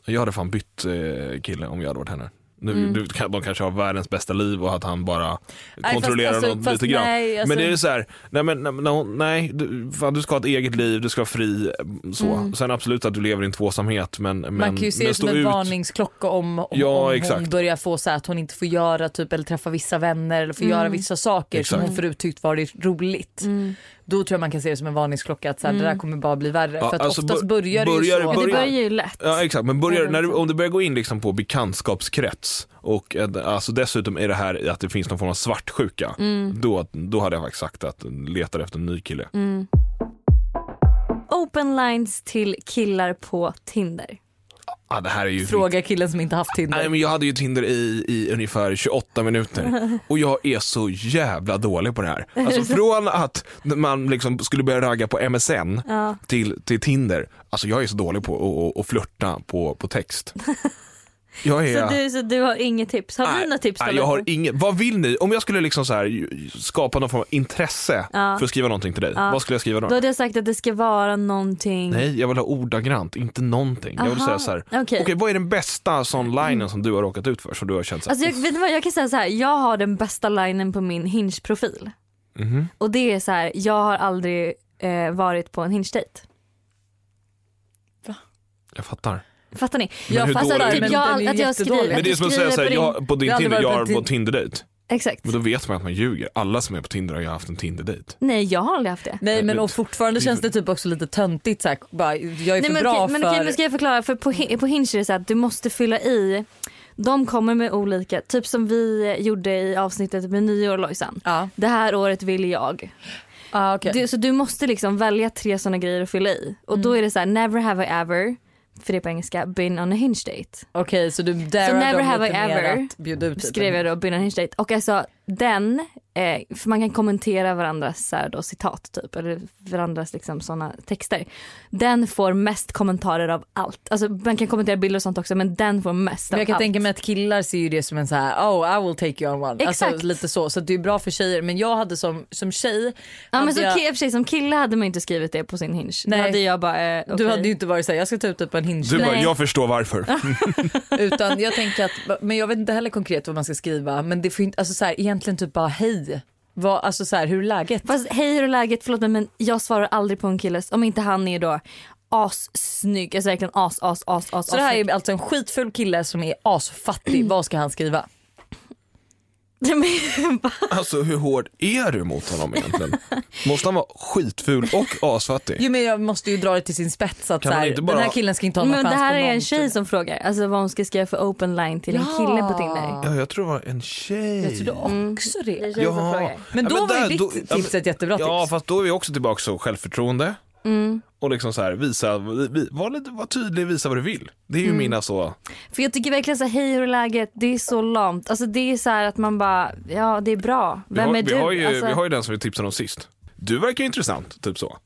Speaker 4: Jag hade fan bytt eh, kille om jag hade varit henne. Nu,
Speaker 1: Mm.
Speaker 4: du, de kanske har världens bästa liv och att han bara
Speaker 2: Nej, fast-
Speaker 4: kontrollerar
Speaker 2: alltså,
Speaker 4: något
Speaker 2: fast
Speaker 4: lite grann.
Speaker 2: nej, alltså-
Speaker 4: Men det är ju så här, nej, men, nej, men hon- nej du, fan, du ska ha ett eget liv, du ska vara fri. eh, Så. Sen absolut att du lever i en tvåsamhet men, men,
Speaker 2: Mm. Man kan ju se
Speaker 4: men
Speaker 2: det som
Speaker 4: stå
Speaker 2: en
Speaker 4: ut.
Speaker 2: varningsklocka om, om,
Speaker 4: Ja,
Speaker 2: om
Speaker 4: exakt.
Speaker 2: hon börjar få så här att hon inte får göra typ, eller träffa vissa vänner eller får göra
Speaker 1: Mm.
Speaker 2: vissa saker som
Speaker 4: Exakt.
Speaker 2: hon förut tyckt varit roligt. Då tror jag man kan se det som en varningsklocka att så här, det där
Speaker 1: Mm.
Speaker 2: kommer bara bli värre.
Speaker 4: Ja,
Speaker 2: För att
Speaker 4: alltså,
Speaker 2: oftast
Speaker 4: bör-
Speaker 2: börjar det ju
Speaker 4: börjar-
Speaker 2: så.
Speaker 1: Ja, det
Speaker 4: Börja-
Speaker 1: börjar ju lätt.
Speaker 4: Ja exakt, men börjar,
Speaker 1: Eller
Speaker 4: när du,
Speaker 1: liksom.
Speaker 4: om du börjar gå in liksom på bekantskapskrets och eh, alltså dessutom är det här i att det finns någon form av svartsjuka.
Speaker 2: Mm.
Speaker 1: Mm,
Speaker 4: Då, då hade jag faktiskt sagt att letar efter en ny kille.
Speaker 1: mm. Open lines till killar på Tinder.
Speaker 4: Ah, det här är ju
Speaker 2: Fråga killen som inte haft Tinder.
Speaker 4: Nej men jag hade ju Tinder i, i ungefär 28 minuter och jag är så jävla dålig på det här. Alltså från att man liksom skulle börja ragga på MSN
Speaker 1: Ja.
Speaker 4: till, till Tinder. Alltså jag är så dålig på att- att, att flirta på, på text. Jag är...
Speaker 1: Så, du, så du har inget tips? Har
Speaker 4: Nej,
Speaker 1: du några tips?
Speaker 4: nej,
Speaker 1: Oliver?
Speaker 4: jag har inget. Vad vill ni? Om jag skulle liksom så här, ju- skapa någon form av intresse
Speaker 1: Ja.
Speaker 4: för att skriva någonting till dig,
Speaker 1: Ja.
Speaker 4: vad skulle jag skriva då?
Speaker 1: Då hade jag sagt att det ska vara någonting.
Speaker 4: Nej, jag vill ha ordagrant, inte någonting. Jag vill
Speaker 1: Aha,
Speaker 4: säga så här, okej
Speaker 1: okej. Mm.
Speaker 4: vad är den bästa sån linen som du har råkat ut för? Som du har känt så här,
Speaker 1: Alltså jag, vet du vad, jag kan säga så här, jag har den bästa linen på min Hinge-profil.
Speaker 4: mhm.
Speaker 1: Och det är så här, jag har aldrig eh, varit på en Hinge-dejt.
Speaker 4: jag fattar.
Speaker 1: Fattar ni?
Speaker 4: Men hur
Speaker 1: Alltså,
Speaker 4: dålig är
Speaker 1: typ,
Speaker 4: den?
Speaker 1: jag,
Speaker 2: Men den är ju
Speaker 1: att jag
Speaker 2: jättedålig.
Speaker 1: skriver,
Speaker 4: Men
Speaker 1: att
Speaker 4: det är
Speaker 1: jag
Speaker 4: som att
Speaker 1: skriver
Speaker 4: säga såhär,
Speaker 1: på din...
Speaker 4: jag, på
Speaker 2: Jag
Speaker 4: din
Speaker 2: har aldrig
Speaker 4: Tinder, jag
Speaker 2: varit
Speaker 4: har
Speaker 2: på en
Speaker 4: på Tinder-dejt.
Speaker 1: Exakt.
Speaker 4: Men då vet man att man ljuger. Alla som är på Tinder har ju haft en Tinder-dejt.
Speaker 1: Nej jag har aldrig haft det.
Speaker 2: Nej men
Speaker 4: men-
Speaker 2: och fortfarande känns det typ också lite töntigt så här, bara, jag är
Speaker 1: Nej,
Speaker 2: för
Speaker 1: men,
Speaker 2: bra
Speaker 1: okej, men,
Speaker 2: för...
Speaker 1: okej, men ska jag förklara? För på, Hi- på Hinge är det så här att du måste fylla i. De kommer med olika, typ som vi gjorde i avsnittet med nyår Lojsan.
Speaker 2: Ja,
Speaker 1: Det här året vill jag.
Speaker 2: ah, okej.
Speaker 1: Du, så du måste liksom välja tre sådana grejer att fylla i. Och
Speaker 2: Mm.
Speaker 1: då är det så här: never have I ever, för det är på engelska, been on a hinge
Speaker 2: Typ
Speaker 1: date.
Speaker 2: Okej, så du darar
Speaker 1: never
Speaker 2: dem
Speaker 1: have
Speaker 2: lite
Speaker 1: I
Speaker 2: mer
Speaker 1: ever
Speaker 2: att bjuda ut
Speaker 1: Skrev jag då, been on a hinge date. Och jag sa alltså, den, eh, Eh, för man kan kommentera varandras så här, då, citat typ, eller varandras liksom, såna texter. Den får mest kommentarer av allt. Alltså, man kan kommentera bilder och sånt också men den får mest
Speaker 2: Men
Speaker 1: av
Speaker 2: jag kan
Speaker 1: allt.
Speaker 2: tänka mig att killar ser ju det som en så här oh I will take you on one.
Speaker 1: Exakt.
Speaker 2: Alltså lite så. Så det är bra för tjejer. Men jag hade som, som tjej.
Speaker 1: ja, men
Speaker 2: hade
Speaker 1: som,
Speaker 2: jag,
Speaker 1: ki- i och för sig, som kille hade man ju inte skrivit det på sin hinge.
Speaker 2: Nej.
Speaker 1: Då hade jag bara, eh, okej.
Speaker 2: Du hade ju inte varit såhär jag ska ta ut dig på en hinge.
Speaker 4: Du bara,
Speaker 1: Nej.
Speaker 4: jag förstår varför.
Speaker 2: Utan jag tänker att, men jag vet inte heller konkret vad man ska skriva. Men det får ju inte, alltså så här, egentligen typ bara hej. Vad, alltså så här, hur är läget?
Speaker 1: Fast hej hur är läget? Förlåt mig men jag svarar aldrig på en killes om inte han är då assnygg. Alltså verkligen as as as as.
Speaker 2: Så det här
Speaker 1: assnygg.
Speaker 2: är alltså en skitfull kille som är
Speaker 1: Mm.
Speaker 2: asfattig. vad ska han skriva?
Speaker 1: Men-
Speaker 4: Alltså hur hård är du mot honom egentligen? Måste han vara skitful och asfattig?
Speaker 2: Jo men jag måste ju dra det till sin spets att
Speaker 4: Kan
Speaker 2: så
Speaker 4: man
Speaker 2: här,
Speaker 4: inte bara-
Speaker 2: den här killen ska inte ha någon
Speaker 1: Men det
Speaker 2: chans
Speaker 1: här
Speaker 2: på
Speaker 1: är en
Speaker 2: någon
Speaker 1: tjej
Speaker 2: sida.
Speaker 1: som frågar alltså vad hon ska skriva för open line till en kille på Tinder.
Speaker 4: Ja, jag tror det var en tjej.
Speaker 2: Jag trodde
Speaker 1: Mm.
Speaker 2: också det.
Speaker 1: Det är en tjej som frågar.
Speaker 2: Men då var ju
Speaker 4: där-
Speaker 2: ditt
Speaker 4: då- ja, men-
Speaker 2: tips ett jättebra tips.
Speaker 4: Ja, fast då är vi också tillbaka till självförtroende.
Speaker 1: Mm.
Speaker 4: Och liksom så här, visa, vi- vi- var, lite, var tydlig, visa vad du vill. Det
Speaker 2: Mm.
Speaker 4: är ju mina så,
Speaker 1: För jag tycker verkligen så här, hej hur är läget? Det är så lamt. Alltså det är så här att man bara, ja det är bra.
Speaker 4: vi,
Speaker 1: Vem
Speaker 4: har,
Speaker 1: är
Speaker 4: vi,
Speaker 1: du?
Speaker 4: har ju,
Speaker 1: alltså,
Speaker 4: vi har ju den som vi tipsade om sist. Du verkar ju intressant, typ så.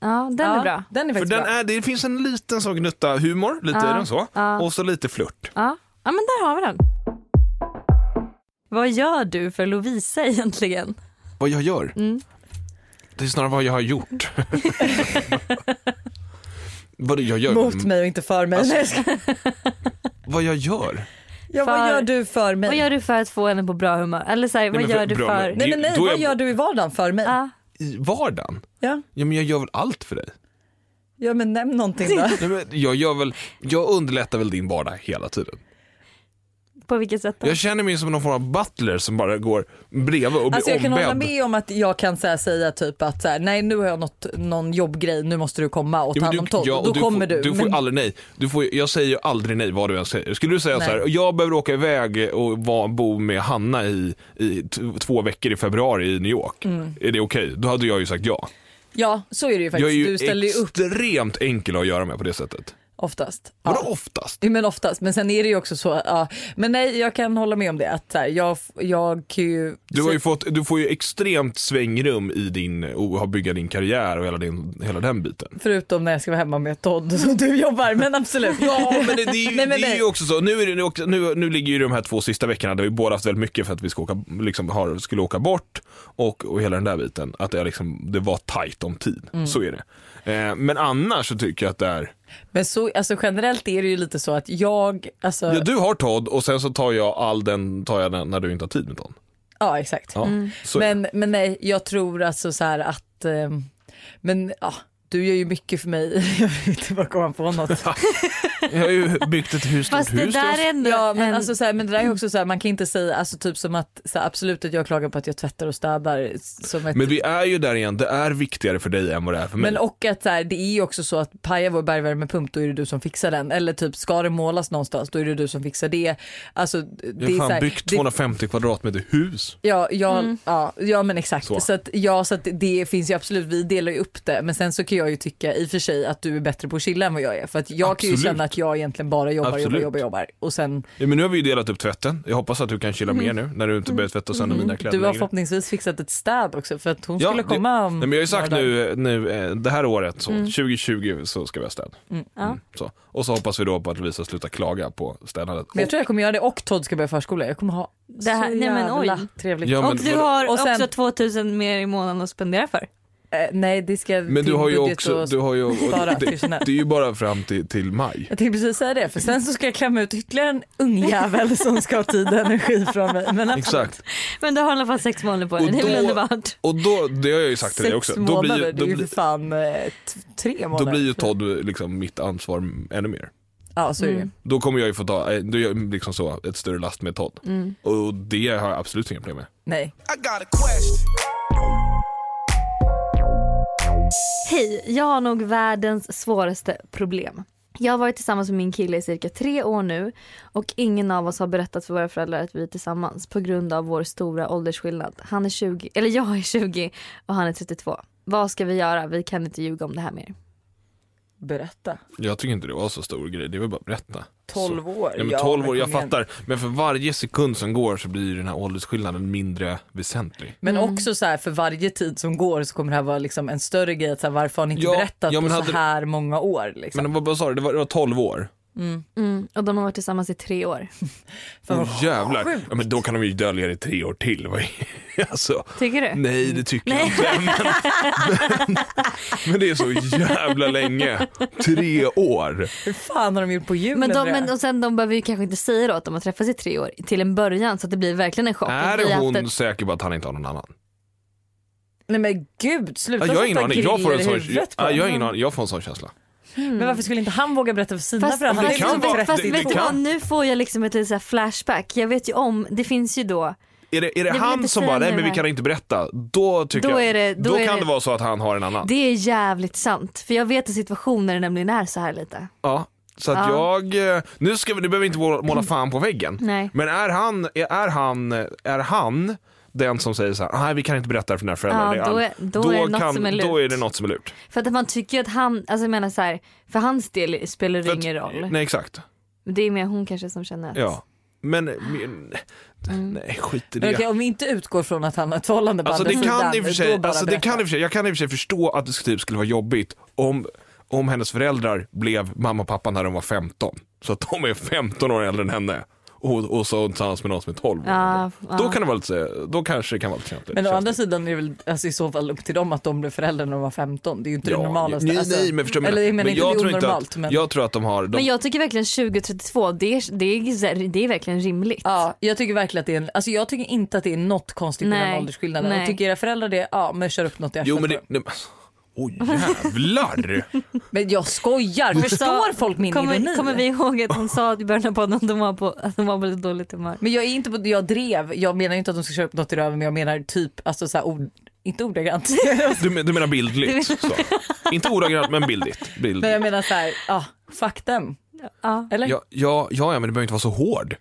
Speaker 1: Ja den är
Speaker 2: Ja,
Speaker 1: bra.
Speaker 2: Den är
Speaker 4: För
Speaker 2: faktiskt
Speaker 4: den
Speaker 2: bra.
Speaker 4: är, det finns en liten sån gnutta humor, lite
Speaker 1: Ja,
Speaker 4: är den så, och så lite flört.
Speaker 1: Ja. ja men där har vi den. Vad gör du för Lovisa egentligen?
Speaker 4: Vad jag gör?
Speaker 2: Mm.
Speaker 4: Det är snarare vad jag har gjort. vad jag gör?
Speaker 2: Mot mig och inte för mig.
Speaker 4: Alltså,
Speaker 2: Nej, jag ska-
Speaker 4: Vad jag gör?
Speaker 2: ja, vad
Speaker 1: för-
Speaker 2: gör du för mig?
Speaker 1: Vad gör du för att få henne på bra humör? Eller så här,
Speaker 4: Nej,
Speaker 1: vad
Speaker 4: men
Speaker 1: gör du
Speaker 4: bra
Speaker 1: för...
Speaker 4: humör.
Speaker 2: nej, men nej,
Speaker 4: Då är
Speaker 2: vad
Speaker 4: jag-
Speaker 2: gör du i vardagen för mig?
Speaker 1: Ja.
Speaker 4: I vardagen?
Speaker 2: Ja.
Speaker 4: Ja, men jag gör väl allt för dig.
Speaker 2: ja men nämn någonting då.
Speaker 4: Nej, men jag, gör väl, jag underlättar väl din vardag hela tiden.
Speaker 1: På vilket sätt då?
Speaker 4: Jag känner mig som någon form av butler som bara går bredvid och blir
Speaker 2: Alltså jag kan hålla
Speaker 4: ombedd.
Speaker 2: med om att jag kan så här, säga typ att så här, nej nu har jag något, någon jobbgrej, nu måste du komma och
Speaker 4: Jo,
Speaker 2: ta
Speaker 4: men
Speaker 2: hand om Todd.
Speaker 4: ja, och
Speaker 2: Då kommer
Speaker 4: får,
Speaker 2: du.
Speaker 4: Du får ju aldrig nej. Du får, ju- jag säger ju aldrig nej vad du än säger. Skulle du säga
Speaker 2: Nej.
Speaker 4: så här, jag behöver åka iväg och va, bo med Hanna i, i t- två veckor i februari i New York.
Speaker 2: Mm.
Speaker 4: Är det okej? Då hade jag ju sagt ja.
Speaker 2: ja så är det ju
Speaker 4: Jag är
Speaker 2: faktiskt.
Speaker 4: ju
Speaker 2: Du ställer ju upp
Speaker 4: extremt enkel att göra med på det sättet.
Speaker 2: oftast. Ja.
Speaker 4: Vadå oftast?
Speaker 2: Jo, Men oftast, men sen är det ju också så, ja. men nej jag kan hålla med om det att så här, jag, jag kan ju...
Speaker 4: Du, har ju fått, du får ju extremt svängrum i din, och har bygga din karriär och hela, din, hela den biten.
Speaker 2: Förutom när jag ska vara hemma med Todd som du jobbar, men absolut.
Speaker 4: Ja men det, det, är ju-
Speaker 2: Nej, men
Speaker 4: det är
Speaker 2: nej.
Speaker 4: ju också så, nu, är det, nu åkte- nu, nu ligger ju de här två sista veckorna där vi båda haft väldigt mycket för att vi ska åka, liksom, har, skulle åka bort och, och hela den där biten. Att det, är liksom, det var tajt om tid,
Speaker 2: Mm.
Speaker 4: så är det. Eh, men annars så tycker jag att det är,
Speaker 2: Men så, alltså generellt är det ju lite så att jag, alltså,
Speaker 4: ja,
Speaker 2: ja,
Speaker 4: du har Todd och sen så tar jag all den, tar jag den när du inte har tid med Todd.
Speaker 2: exakt.
Speaker 4: Ja, så,
Speaker 2: Mm. Men, men nej, jag tror alltså så här att, eh, men ja, du gör ju mycket för mig. Jag vet inte bara komma på något.
Speaker 4: Jag har ju byggt ett hus,
Speaker 1: Fast det
Speaker 4: hus till
Speaker 1: där
Speaker 4: oss.
Speaker 1: är ändå...
Speaker 2: Ja, men,
Speaker 1: en-
Speaker 2: alltså, så här, men det där är också så här, man kan inte säga, alltså typ som att, så här, absolut att jag klagar på att jag tvättar och städar. Som ett,
Speaker 4: Men vi är ju där igen, det är viktigare för dig än vad det är för mig.
Speaker 2: men och att så här, det är ju också så att pajar vår bergvärmepump då är det du som fixar den. Eller typ ska det målas någonstans då är det du som fixar det. Alltså, det
Speaker 4: jag har
Speaker 2: är så
Speaker 4: fan
Speaker 2: här,
Speaker 4: byggt
Speaker 2: det
Speaker 4: 250 kvadratmeter hus.
Speaker 2: Ja, jag,
Speaker 1: Mm.
Speaker 2: ja, ja men exakt.
Speaker 4: Så.
Speaker 2: Så, att, ja, så att det finns ju absolut, vi delar ju upp det. Men sen så kan jag ju tycka i och för sig att du är bättre på att chilla än vad jag är. För att jag kan
Speaker 4: Absolut.
Speaker 2: ju känna att jag egentligen bara jobbar,
Speaker 4: Absolut.
Speaker 2: jobbar, jobbar, jobbar. Och sen,
Speaker 4: Ja, men nu har vi ju delat upp tvätten. Jag hoppas att du kan chilla mer nu när du inte behöver tvätta sönder
Speaker 1: Mm.
Speaker 4: mina kläder
Speaker 2: Mm. du har
Speaker 4: längre.
Speaker 2: förhoppningsvis fixat ett städ också för att hon
Speaker 4: Ja,
Speaker 2: skulle
Speaker 4: det-
Speaker 2: komma om
Speaker 4: Nej, men jag har ju sagt
Speaker 2: några dagar.
Speaker 4: nu, nu eh, det här året,
Speaker 2: Mm.
Speaker 4: så, 2020 så ska vi ha städ.
Speaker 1: ja.
Speaker 4: Så. Och så hoppas vi då på att Lovisa slutar klaga på städandet.
Speaker 2: Men jag tror jag kommer göra det och Todd ska börja förskola. Jag kommer ha
Speaker 1: Det här-
Speaker 2: så
Speaker 1: nej, men oj.
Speaker 2: jävla trevligt.
Speaker 4: Ja,
Speaker 1: och
Speaker 4: men
Speaker 1: du
Speaker 4: vadå?
Speaker 1: har
Speaker 2: Och sen-
Speaker 1: också 2000 mer i månaden att spendera för.
Speaker 2: Eh, nej, det ska
Speaker 4: men du
Speaker 2: till
Speaker 4: har ju
Speaker 2: budget
Speaker 4: också,
Speaker 2: och-
Speaker 4: du har ju, och
Speaker 2: spara
Speaker 4: det,
Speaker 2: till sån här.
Speaker 4: det är ju bara fram till, till maj.
Speaker 2: Jag tänkte precis säga det, för sen så ska jag klämma ut ytterligare en ungjävel som ska ha tid och energi från mig. Men absolut.
Speaker 4: Exakt.
Speaker 1: Men du har i alla fall sex månader på
Speaker 4: Och
Speaker 1: dig. Det är väl
Speaker 4: då-
Speaker 1: underbart.
Speaker 4: Och då, det har jag ju sagt till dig också,
Speaker 2: Sex
Speaker 4: då blir,
Speaker 2: månader,
Speaker 4: ju- då,
Speaker 2: det är ju
Speaker 4: blir,
Speaker 2: för fan eh, t- tre månader.
Speaker 4: då blir ju Todd liksom mitt ansvar ännu mer.
Speaker 2: Ja, så är det
Speaker 1: Mm.
Speaker 2: ju.
Speaker 4: Då kommer jag ju få ta, eh, då är jag liksom så, ett större last med Todd.
Speaker 2: Mm.
Speaker 4: Och det har jag absolut inga problem med.
Speaker 2: Nej.
Speaker 1: Hej, jag har nog världens svåraste problem. Jag har varit tillsammans med min kille i cirka tre år nu och ingen av oss har berättat för våra föräldrar att vi är tillsammans på grund av vår stora åldersskillnad. Han är 20, eller jag är 20 och han är 32. Vad ska vi göra? Vi kan inte ljuga om det här mer.
Speaker 2: Berätta.
Speaker 4: Jag tycker inte det var så stor grej, det var bara att berätta.
Speaker 2: 12 år.
Speaker 4: Nej, men 12 år, jag
Speaker 2: kom igen.
Speaker 4: fattar. Men för varje sekund som går så blir den här åldersskillnaden mindre väsentlig.
Speaker 2: Men
Speaker 1: Mm.
Speaker 2: också så här för varje tid som går så kommer det här vara liksom en större grej. att Så här, varför har ni inte
Speaker 4: Ja,
Speaker 2: berättat
Speaker 4: ja, men
Speaker 2: på
Speaker 4: hade-
Speaker 2: så här många år? Liksom.
Speaker 4: Men vad, vad sa du, det var, det var 12 år?
Speaker 1: Mm, och de har varit tillsammans i tre år.
Speaker 2: Fan, vad
Speaker 4: oh, jävlar. Ja, men då kan de ju dölja det i tre år till. Vad är- alltså,
Speaker 1: Tycker du?
Speaker 4: nej det tycker jag inte. Men, men, men det är så jävla länge. Tre år.
Speaker 2: Hur fan har de gjort på julen?
Speaker 1: Men, de,
Speaker 2: det?
Speaker 1: men och sen de behöver ju kanske inte säga då att de har träffats i tre år till en början så att det blir verkligen en chock. Vi
Speaker 4: Är
Speaker 1: har haft
Speaker 4: hon
Speaker 1: en-
Speaker 4: säker på att han inte har någon annan?
Speaker 2: Nej men gud, sluta
Speaker 4: Ja, jag har ingen
Speaker 2: sätta
Speaker 4: aning. Jag får en
Speaker 2: griller i
Speaker 4: sån,
Speaker 2: huvudet på
Speaker 4: ja, jag har
Speaker 2: dem.
Speaker 4: ingen aning. Jag får en sån känsla.
Speaker 2: Men varför skulle inte han våga berätta för sina
Speaker 1: Fast,
Speaker 2: föräldrar?
Speaker 1: fast,
Speaker 4: Mm. Det kan
Speaker 1: fast,
Speaker 4: vara-
Speaker 1: fast
Speaker 4: det- det
Speaker 1: liksom vet du
Speaker 4: kan-
Speaker 1: vad, nu får jag liksom ett litet så här flashback. Jag vet ju om, det finns ju då,
Speaker 4: Är det, är det
Speaker 1: vill
Speaker 4: han
Speaker 1: inte
Speaker 4: som
Speaker 1: säga
Speaker 4: bara, nej
Speaker 1: nu
Speaker 4: men vi
Speaker 1: här."
Speaker 4: kan inte berätta. Då tycker
Speaker 1: Då
Speaker 4: jag,
Speaker 1: är det-
Speaker 4: då,
Speaker 1: då är
Speaker 4: kan det...
Speaker 1: det-
Speaker 4: vara så att han har en annan.
Speaker 1: det är jävligt sant. För jag vet att situationer nämligen är så här lite.
Speaker 4: Ja, så att
Speaker 1: Ja.
Speaker 4: jag, eh, nu ska vi, nu behöver vi inte måla måla fan på väggen.
Speaker 1: Nej.
Speaker 4: Men är han, är, är han, är han den som säger så här, nej vi kan inte berätta det för den här föräldern.
Speaker 1: Ja,
Speaker 4: Det är
Speaker 1: då
Speaker 4: han."
Speaker 1: är- då är det något som är lurt.
Speaker 4: Då är det något som är lurt.
Speaker 1: För att man tycker ju att han, alltså jag menar så här, för hans del spelar det
Speaker 4: För att-
Speaker 1: ingen roll.
Speaker 4: Nej exakt.
Speaker 1: Men Det är mer hon kanske som känner att, Mm.
Speaker 4: Ja. Men, men nej skit i
Speaker 2: Men
Speaker 4: det.
Speaker 2: okej, om vi inte utgår från att han har ett förhållande på
Speaker 4: Alltså det
Speaker 2: andra
Speaker 4: kan
Speaker 2: sidan,
Speaker 4: i och för
Speaker 2: då
Speaker 4: sig,
Speaker 2: bara
Speaker 4: alltså, det
Speaker 2: berätta.
Speaker 4: kan i och för sig, jag kan i och för sig förstå att det typ skulle vara jobbigt om, om hennes föräldrar blev mamma och pappa när de var 15. Så att de är 15 år äldre än henne. Och, och så tillsammans med någon som är 12 år
Speaker 1: Ja,
Speaker 4: äldre.
Speaker 1: ja.
Speaker 4: Då kan det vara lite, då kanske det kan vara lite knepigt.
Speaker 2: Men å
Speaker 4: känns
Speaker 2: andra
Speaker 4: det.
Speaker 2: sidan är det väl alltså, i så fall upp till dem att de blev föräldrar när de var 15. Det är ju inte det normalaste.
Speaker 4: nej,
Speaker 2: alltså,
Speaker 4: nej men förstår
Speaker 2: eller jag menar
Speaker 4: men
Speaker 2: inte
Speaker 4: jag
Speaker 2: det är
Speaker 4: tror inte
Speaker 2: onormalt.
Speaker 4: att,
Speaker 2: men...
Speaker 4: jag tror att de har, de,
Speaker 1: Men jag tycker verkligen 2032, det är, det är, så här- det är verkligen rimligt.
Speaker 2: Ja, jag tycker verkligen att det är, en, alltså jag tycker inte att det är något konstigt med den
Speaker 1: Nej,
Speaker 2: åldersskillnaden.
Speaker 1: nej.
Speaker 2: Och tycker era föräldrar det, ja men kör upp något i
Speaker 4: jo
Speaker 2: arslet på
Speaker 4: men det,
Speaker 2: dem.
Speaker 4: nej, men, oj jävlar.
Speaker 2: Men jag skojar, förstår
Speaker 1: Så
Speaker 2: folk min ironi?
Speaker 1: kommer, kommer vi ihåg att hon sa i början av podden att de var på, att de var på lite dåligt humör?
Speaker 2: Men jag är inte på, jag drev, jag menar ju inte att de ska köra upp något i röven men jag menar typ, alltså så här, ord, inte ordagrant.
Speaker 4: Du, men- du menar bildligt? Så. Inte ordagrant men bildligt. bildligt.
Speaker 2: men jag menar så här, ja, fuck them.
Speaker 1: Ja.
Speaker 2: Eller?
Speaker 4: Ja, ja, ja, men du behöver inte vara så hård.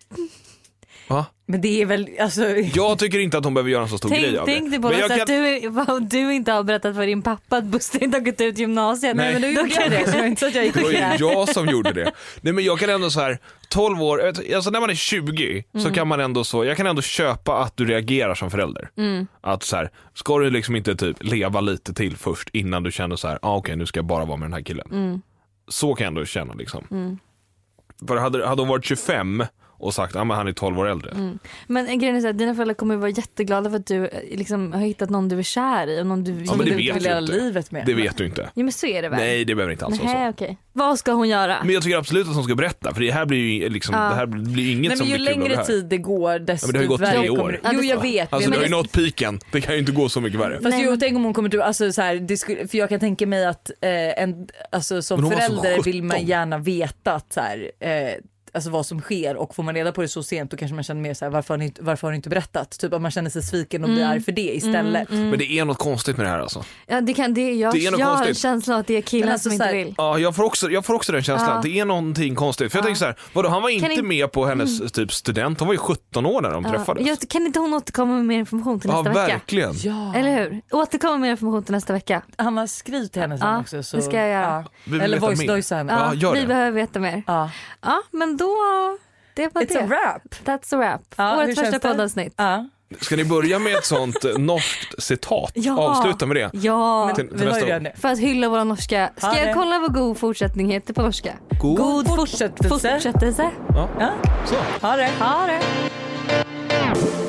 Speaker 4: Va?
Speaker 2: Men det är väl, alltså,
Speaker 4: Jag tycker inte att hon behöver göra en så stor grej
Speaker 1: Tänk,
Speaker 4: av det.
Speaker 1: tänk dig på
Speaker 4: Men
Speaker 1: det,
Speaker 4: jag
Speaker 1: så att
Speaker 4: kan-
Speaker 1: du, vad du inte har berättat för din pappa att Buster inte har gått ut gymnasiet.
Speaker 4: Nej, men
Speaker 2: nu
Speaker 1: Då
Speaker 2: gjorde jag det så det var inte så att jag gick
Speaker 4: Det
Speaker 2: och
Speaker 4: var ju
Speaker 2: grät.
Speaker 4: jag som gjorde det. Nej men jag kan ändå så här, 12 år, jag vet- alltså när man är 20
Speaker 2: Mm.
Speaker 4: så kan man ändå så, jag kan ändå köpa att du reagerar som förälder. Att så här, ska du liksom inte typ leva lite till först innan du känner så här, ah, okej nu ska jag bara vara med den här killen.
Speaker 2: Mm.
Speaker 4: Så kan jag ändå känna liksom. För hade, hade hon varit 25 och sagt, ah, men han är 12 år äldre.
Speaker 2: Mm.
Speaker 1: Men grejen är så här, dina föräldrar kommer vara jätteglada för att du eh, liksom, har hittat någon du är kär i. Och någon du
Speaker 4: men det
Speaker 2: du
Speaker 4: vet
Speaker 2: vill
Speaker 4: vi
Speaker 2: leva
Speaker 4: inte.
Speaker 2: livet med.
Speaker 4: Det vet du inte.
Speaker 1: Ja men så är det väl?
Speaker 4: Nej det behöver inte alls vara så.
Speaker 1: Nej, okej. Vad ska hon göra?
Speaker 4: Men jag tycker absolut att hon ska berätta för det här blir ju liksom, det här blir inget
Speaker 2: Nej,
Speaker 4: som
Speaker 2: men ju
Speaker 4: blir kul av det
Speaker 2: längre
Speaker 4: här.
Speaker 2: tid det går desto
Speaker 4: Ja, men det har ju gått tre
Speaker 2: värre
Speaker 4: år.
Speaker 2: kommer det-
Speaker 1: Ja,
Speaker 2: Jo
Speaker 1: det-
Speaker 2: jag vet.
Speaker 4: Alltså
Speaker 2: men
Speaker 4: du har
Speaker 2: jag Mm.
Speaker 4: ju nått piken, det kan ju inte gå så mycket värre.
Speaker 2: Fast
Speaker 1: Nej,
Speaker 2: jo,
Speaker 1: men-
Speaker 2: tänk om hon kommer till, alltså så här, det skulle, för jag kan tänka mig att eh, en, alltså,
Speaker 4: Men
Speaker 2: som
Speaker 4: hon var som
Speaker 2: förälder vill man
Speaker 4: 17.
Speaker 2: gärna veta att, så här, eh, alltså, vad som sker och får man reda på det så sent då kanske man känner mer så här, varför har ni, inte- varför har ni inte berättat? Typ att man känner sig sviken och blir
Speaker 1: Mm.
Speaker 2: arg för det istället.
Speaker 4: Men det är något konstigt med det här alltså.
Speaker 1: Ja, det kan, det, jag
Speaker 4: Det är nog
Speaker 1: jag har en
Speaker 4: konstigt.
Speaker 1: känsla att det är killen
Speaker 2: Men alltså
Speaker 1: som inte
Speaker 2: så här-
Speaker 1: vill.
Speaker 4: Ja, jag får också, jag får också den känslan.
Speaker 1: Ja.
Speaker 4: Det är någonting konstigt. För jag tänker så här, vadå han var inte
Speaker 1: inte-
Speaker 4: med på hennes
Speaker 2: Mm.
Speaker 4: typ student, hon var ju 17 år när de träffades.
Speaker 1: Ja, jag, kan inte hon återkomma med mer information till
Speaker 4: ja,
Speaker 1: nästa vecka?
Speaker 4: verkligen.
Speaker 2: Ja.
Speaker 1: Eller hur? Återkomma med mer information till nästa vecka.
Speaker 2: Han har skrivit till henne sen
Speaker 1: Ja,
Speaker 2: också. Så,
Speaker 1: det ska jag göra.
Speaker 4: Vi vill
Speaker 2: Eller
Speaker 4: veta
Speaker 2: voice
Speaker 4: mer.
Speaker 2: noise henne.
Speaker 4: Ja, gör
Speaker 1: vi
Speaker 4: det.
Speaker 1: behöver veta mer.
Speaker 2: Ja.
Speaker 1: Ja, men då... Det var
Speaker 2: It's
Speaker 1: det.
Speaker 2: a wrap.
Speaker 1: That's a wrap.
Speaker 2: Ja, hur
Speaker 1: Årets
Speaker 2: känns
Speaker 1: första
Speaker 2: det?
Speaker 1: poddavsnitt.
Speaker 2: Ja.
Speaker 4: Ska ni börja med ett sånt eh, norskt citat?
Speaker 1: Ja.
Speaker 4: Avsluta med det.
Speaker 1: Ja,
Speaker 4: Till, till
Speaker 2: Vi har ju
Speaker 4: nästa
Speaker 2: redan
Speaker 4: gång.
Speaker 2: det.
Speaker 1: för att hylla våra norska. Ska
Speaker 2: Ha det.
Speaker 1: jag kolla vad god fortsättning heter på norska?
Speaker 4: God-
Speaker 1: fort-
Speaker 2: fortsättelse.
Speaker 1: fortsättelse.
Speaker 4: Ja,
Speaker 2: Ja.
Speaker 4: så.
Speaker 2: Ha det.
Speaker 1: Ha det.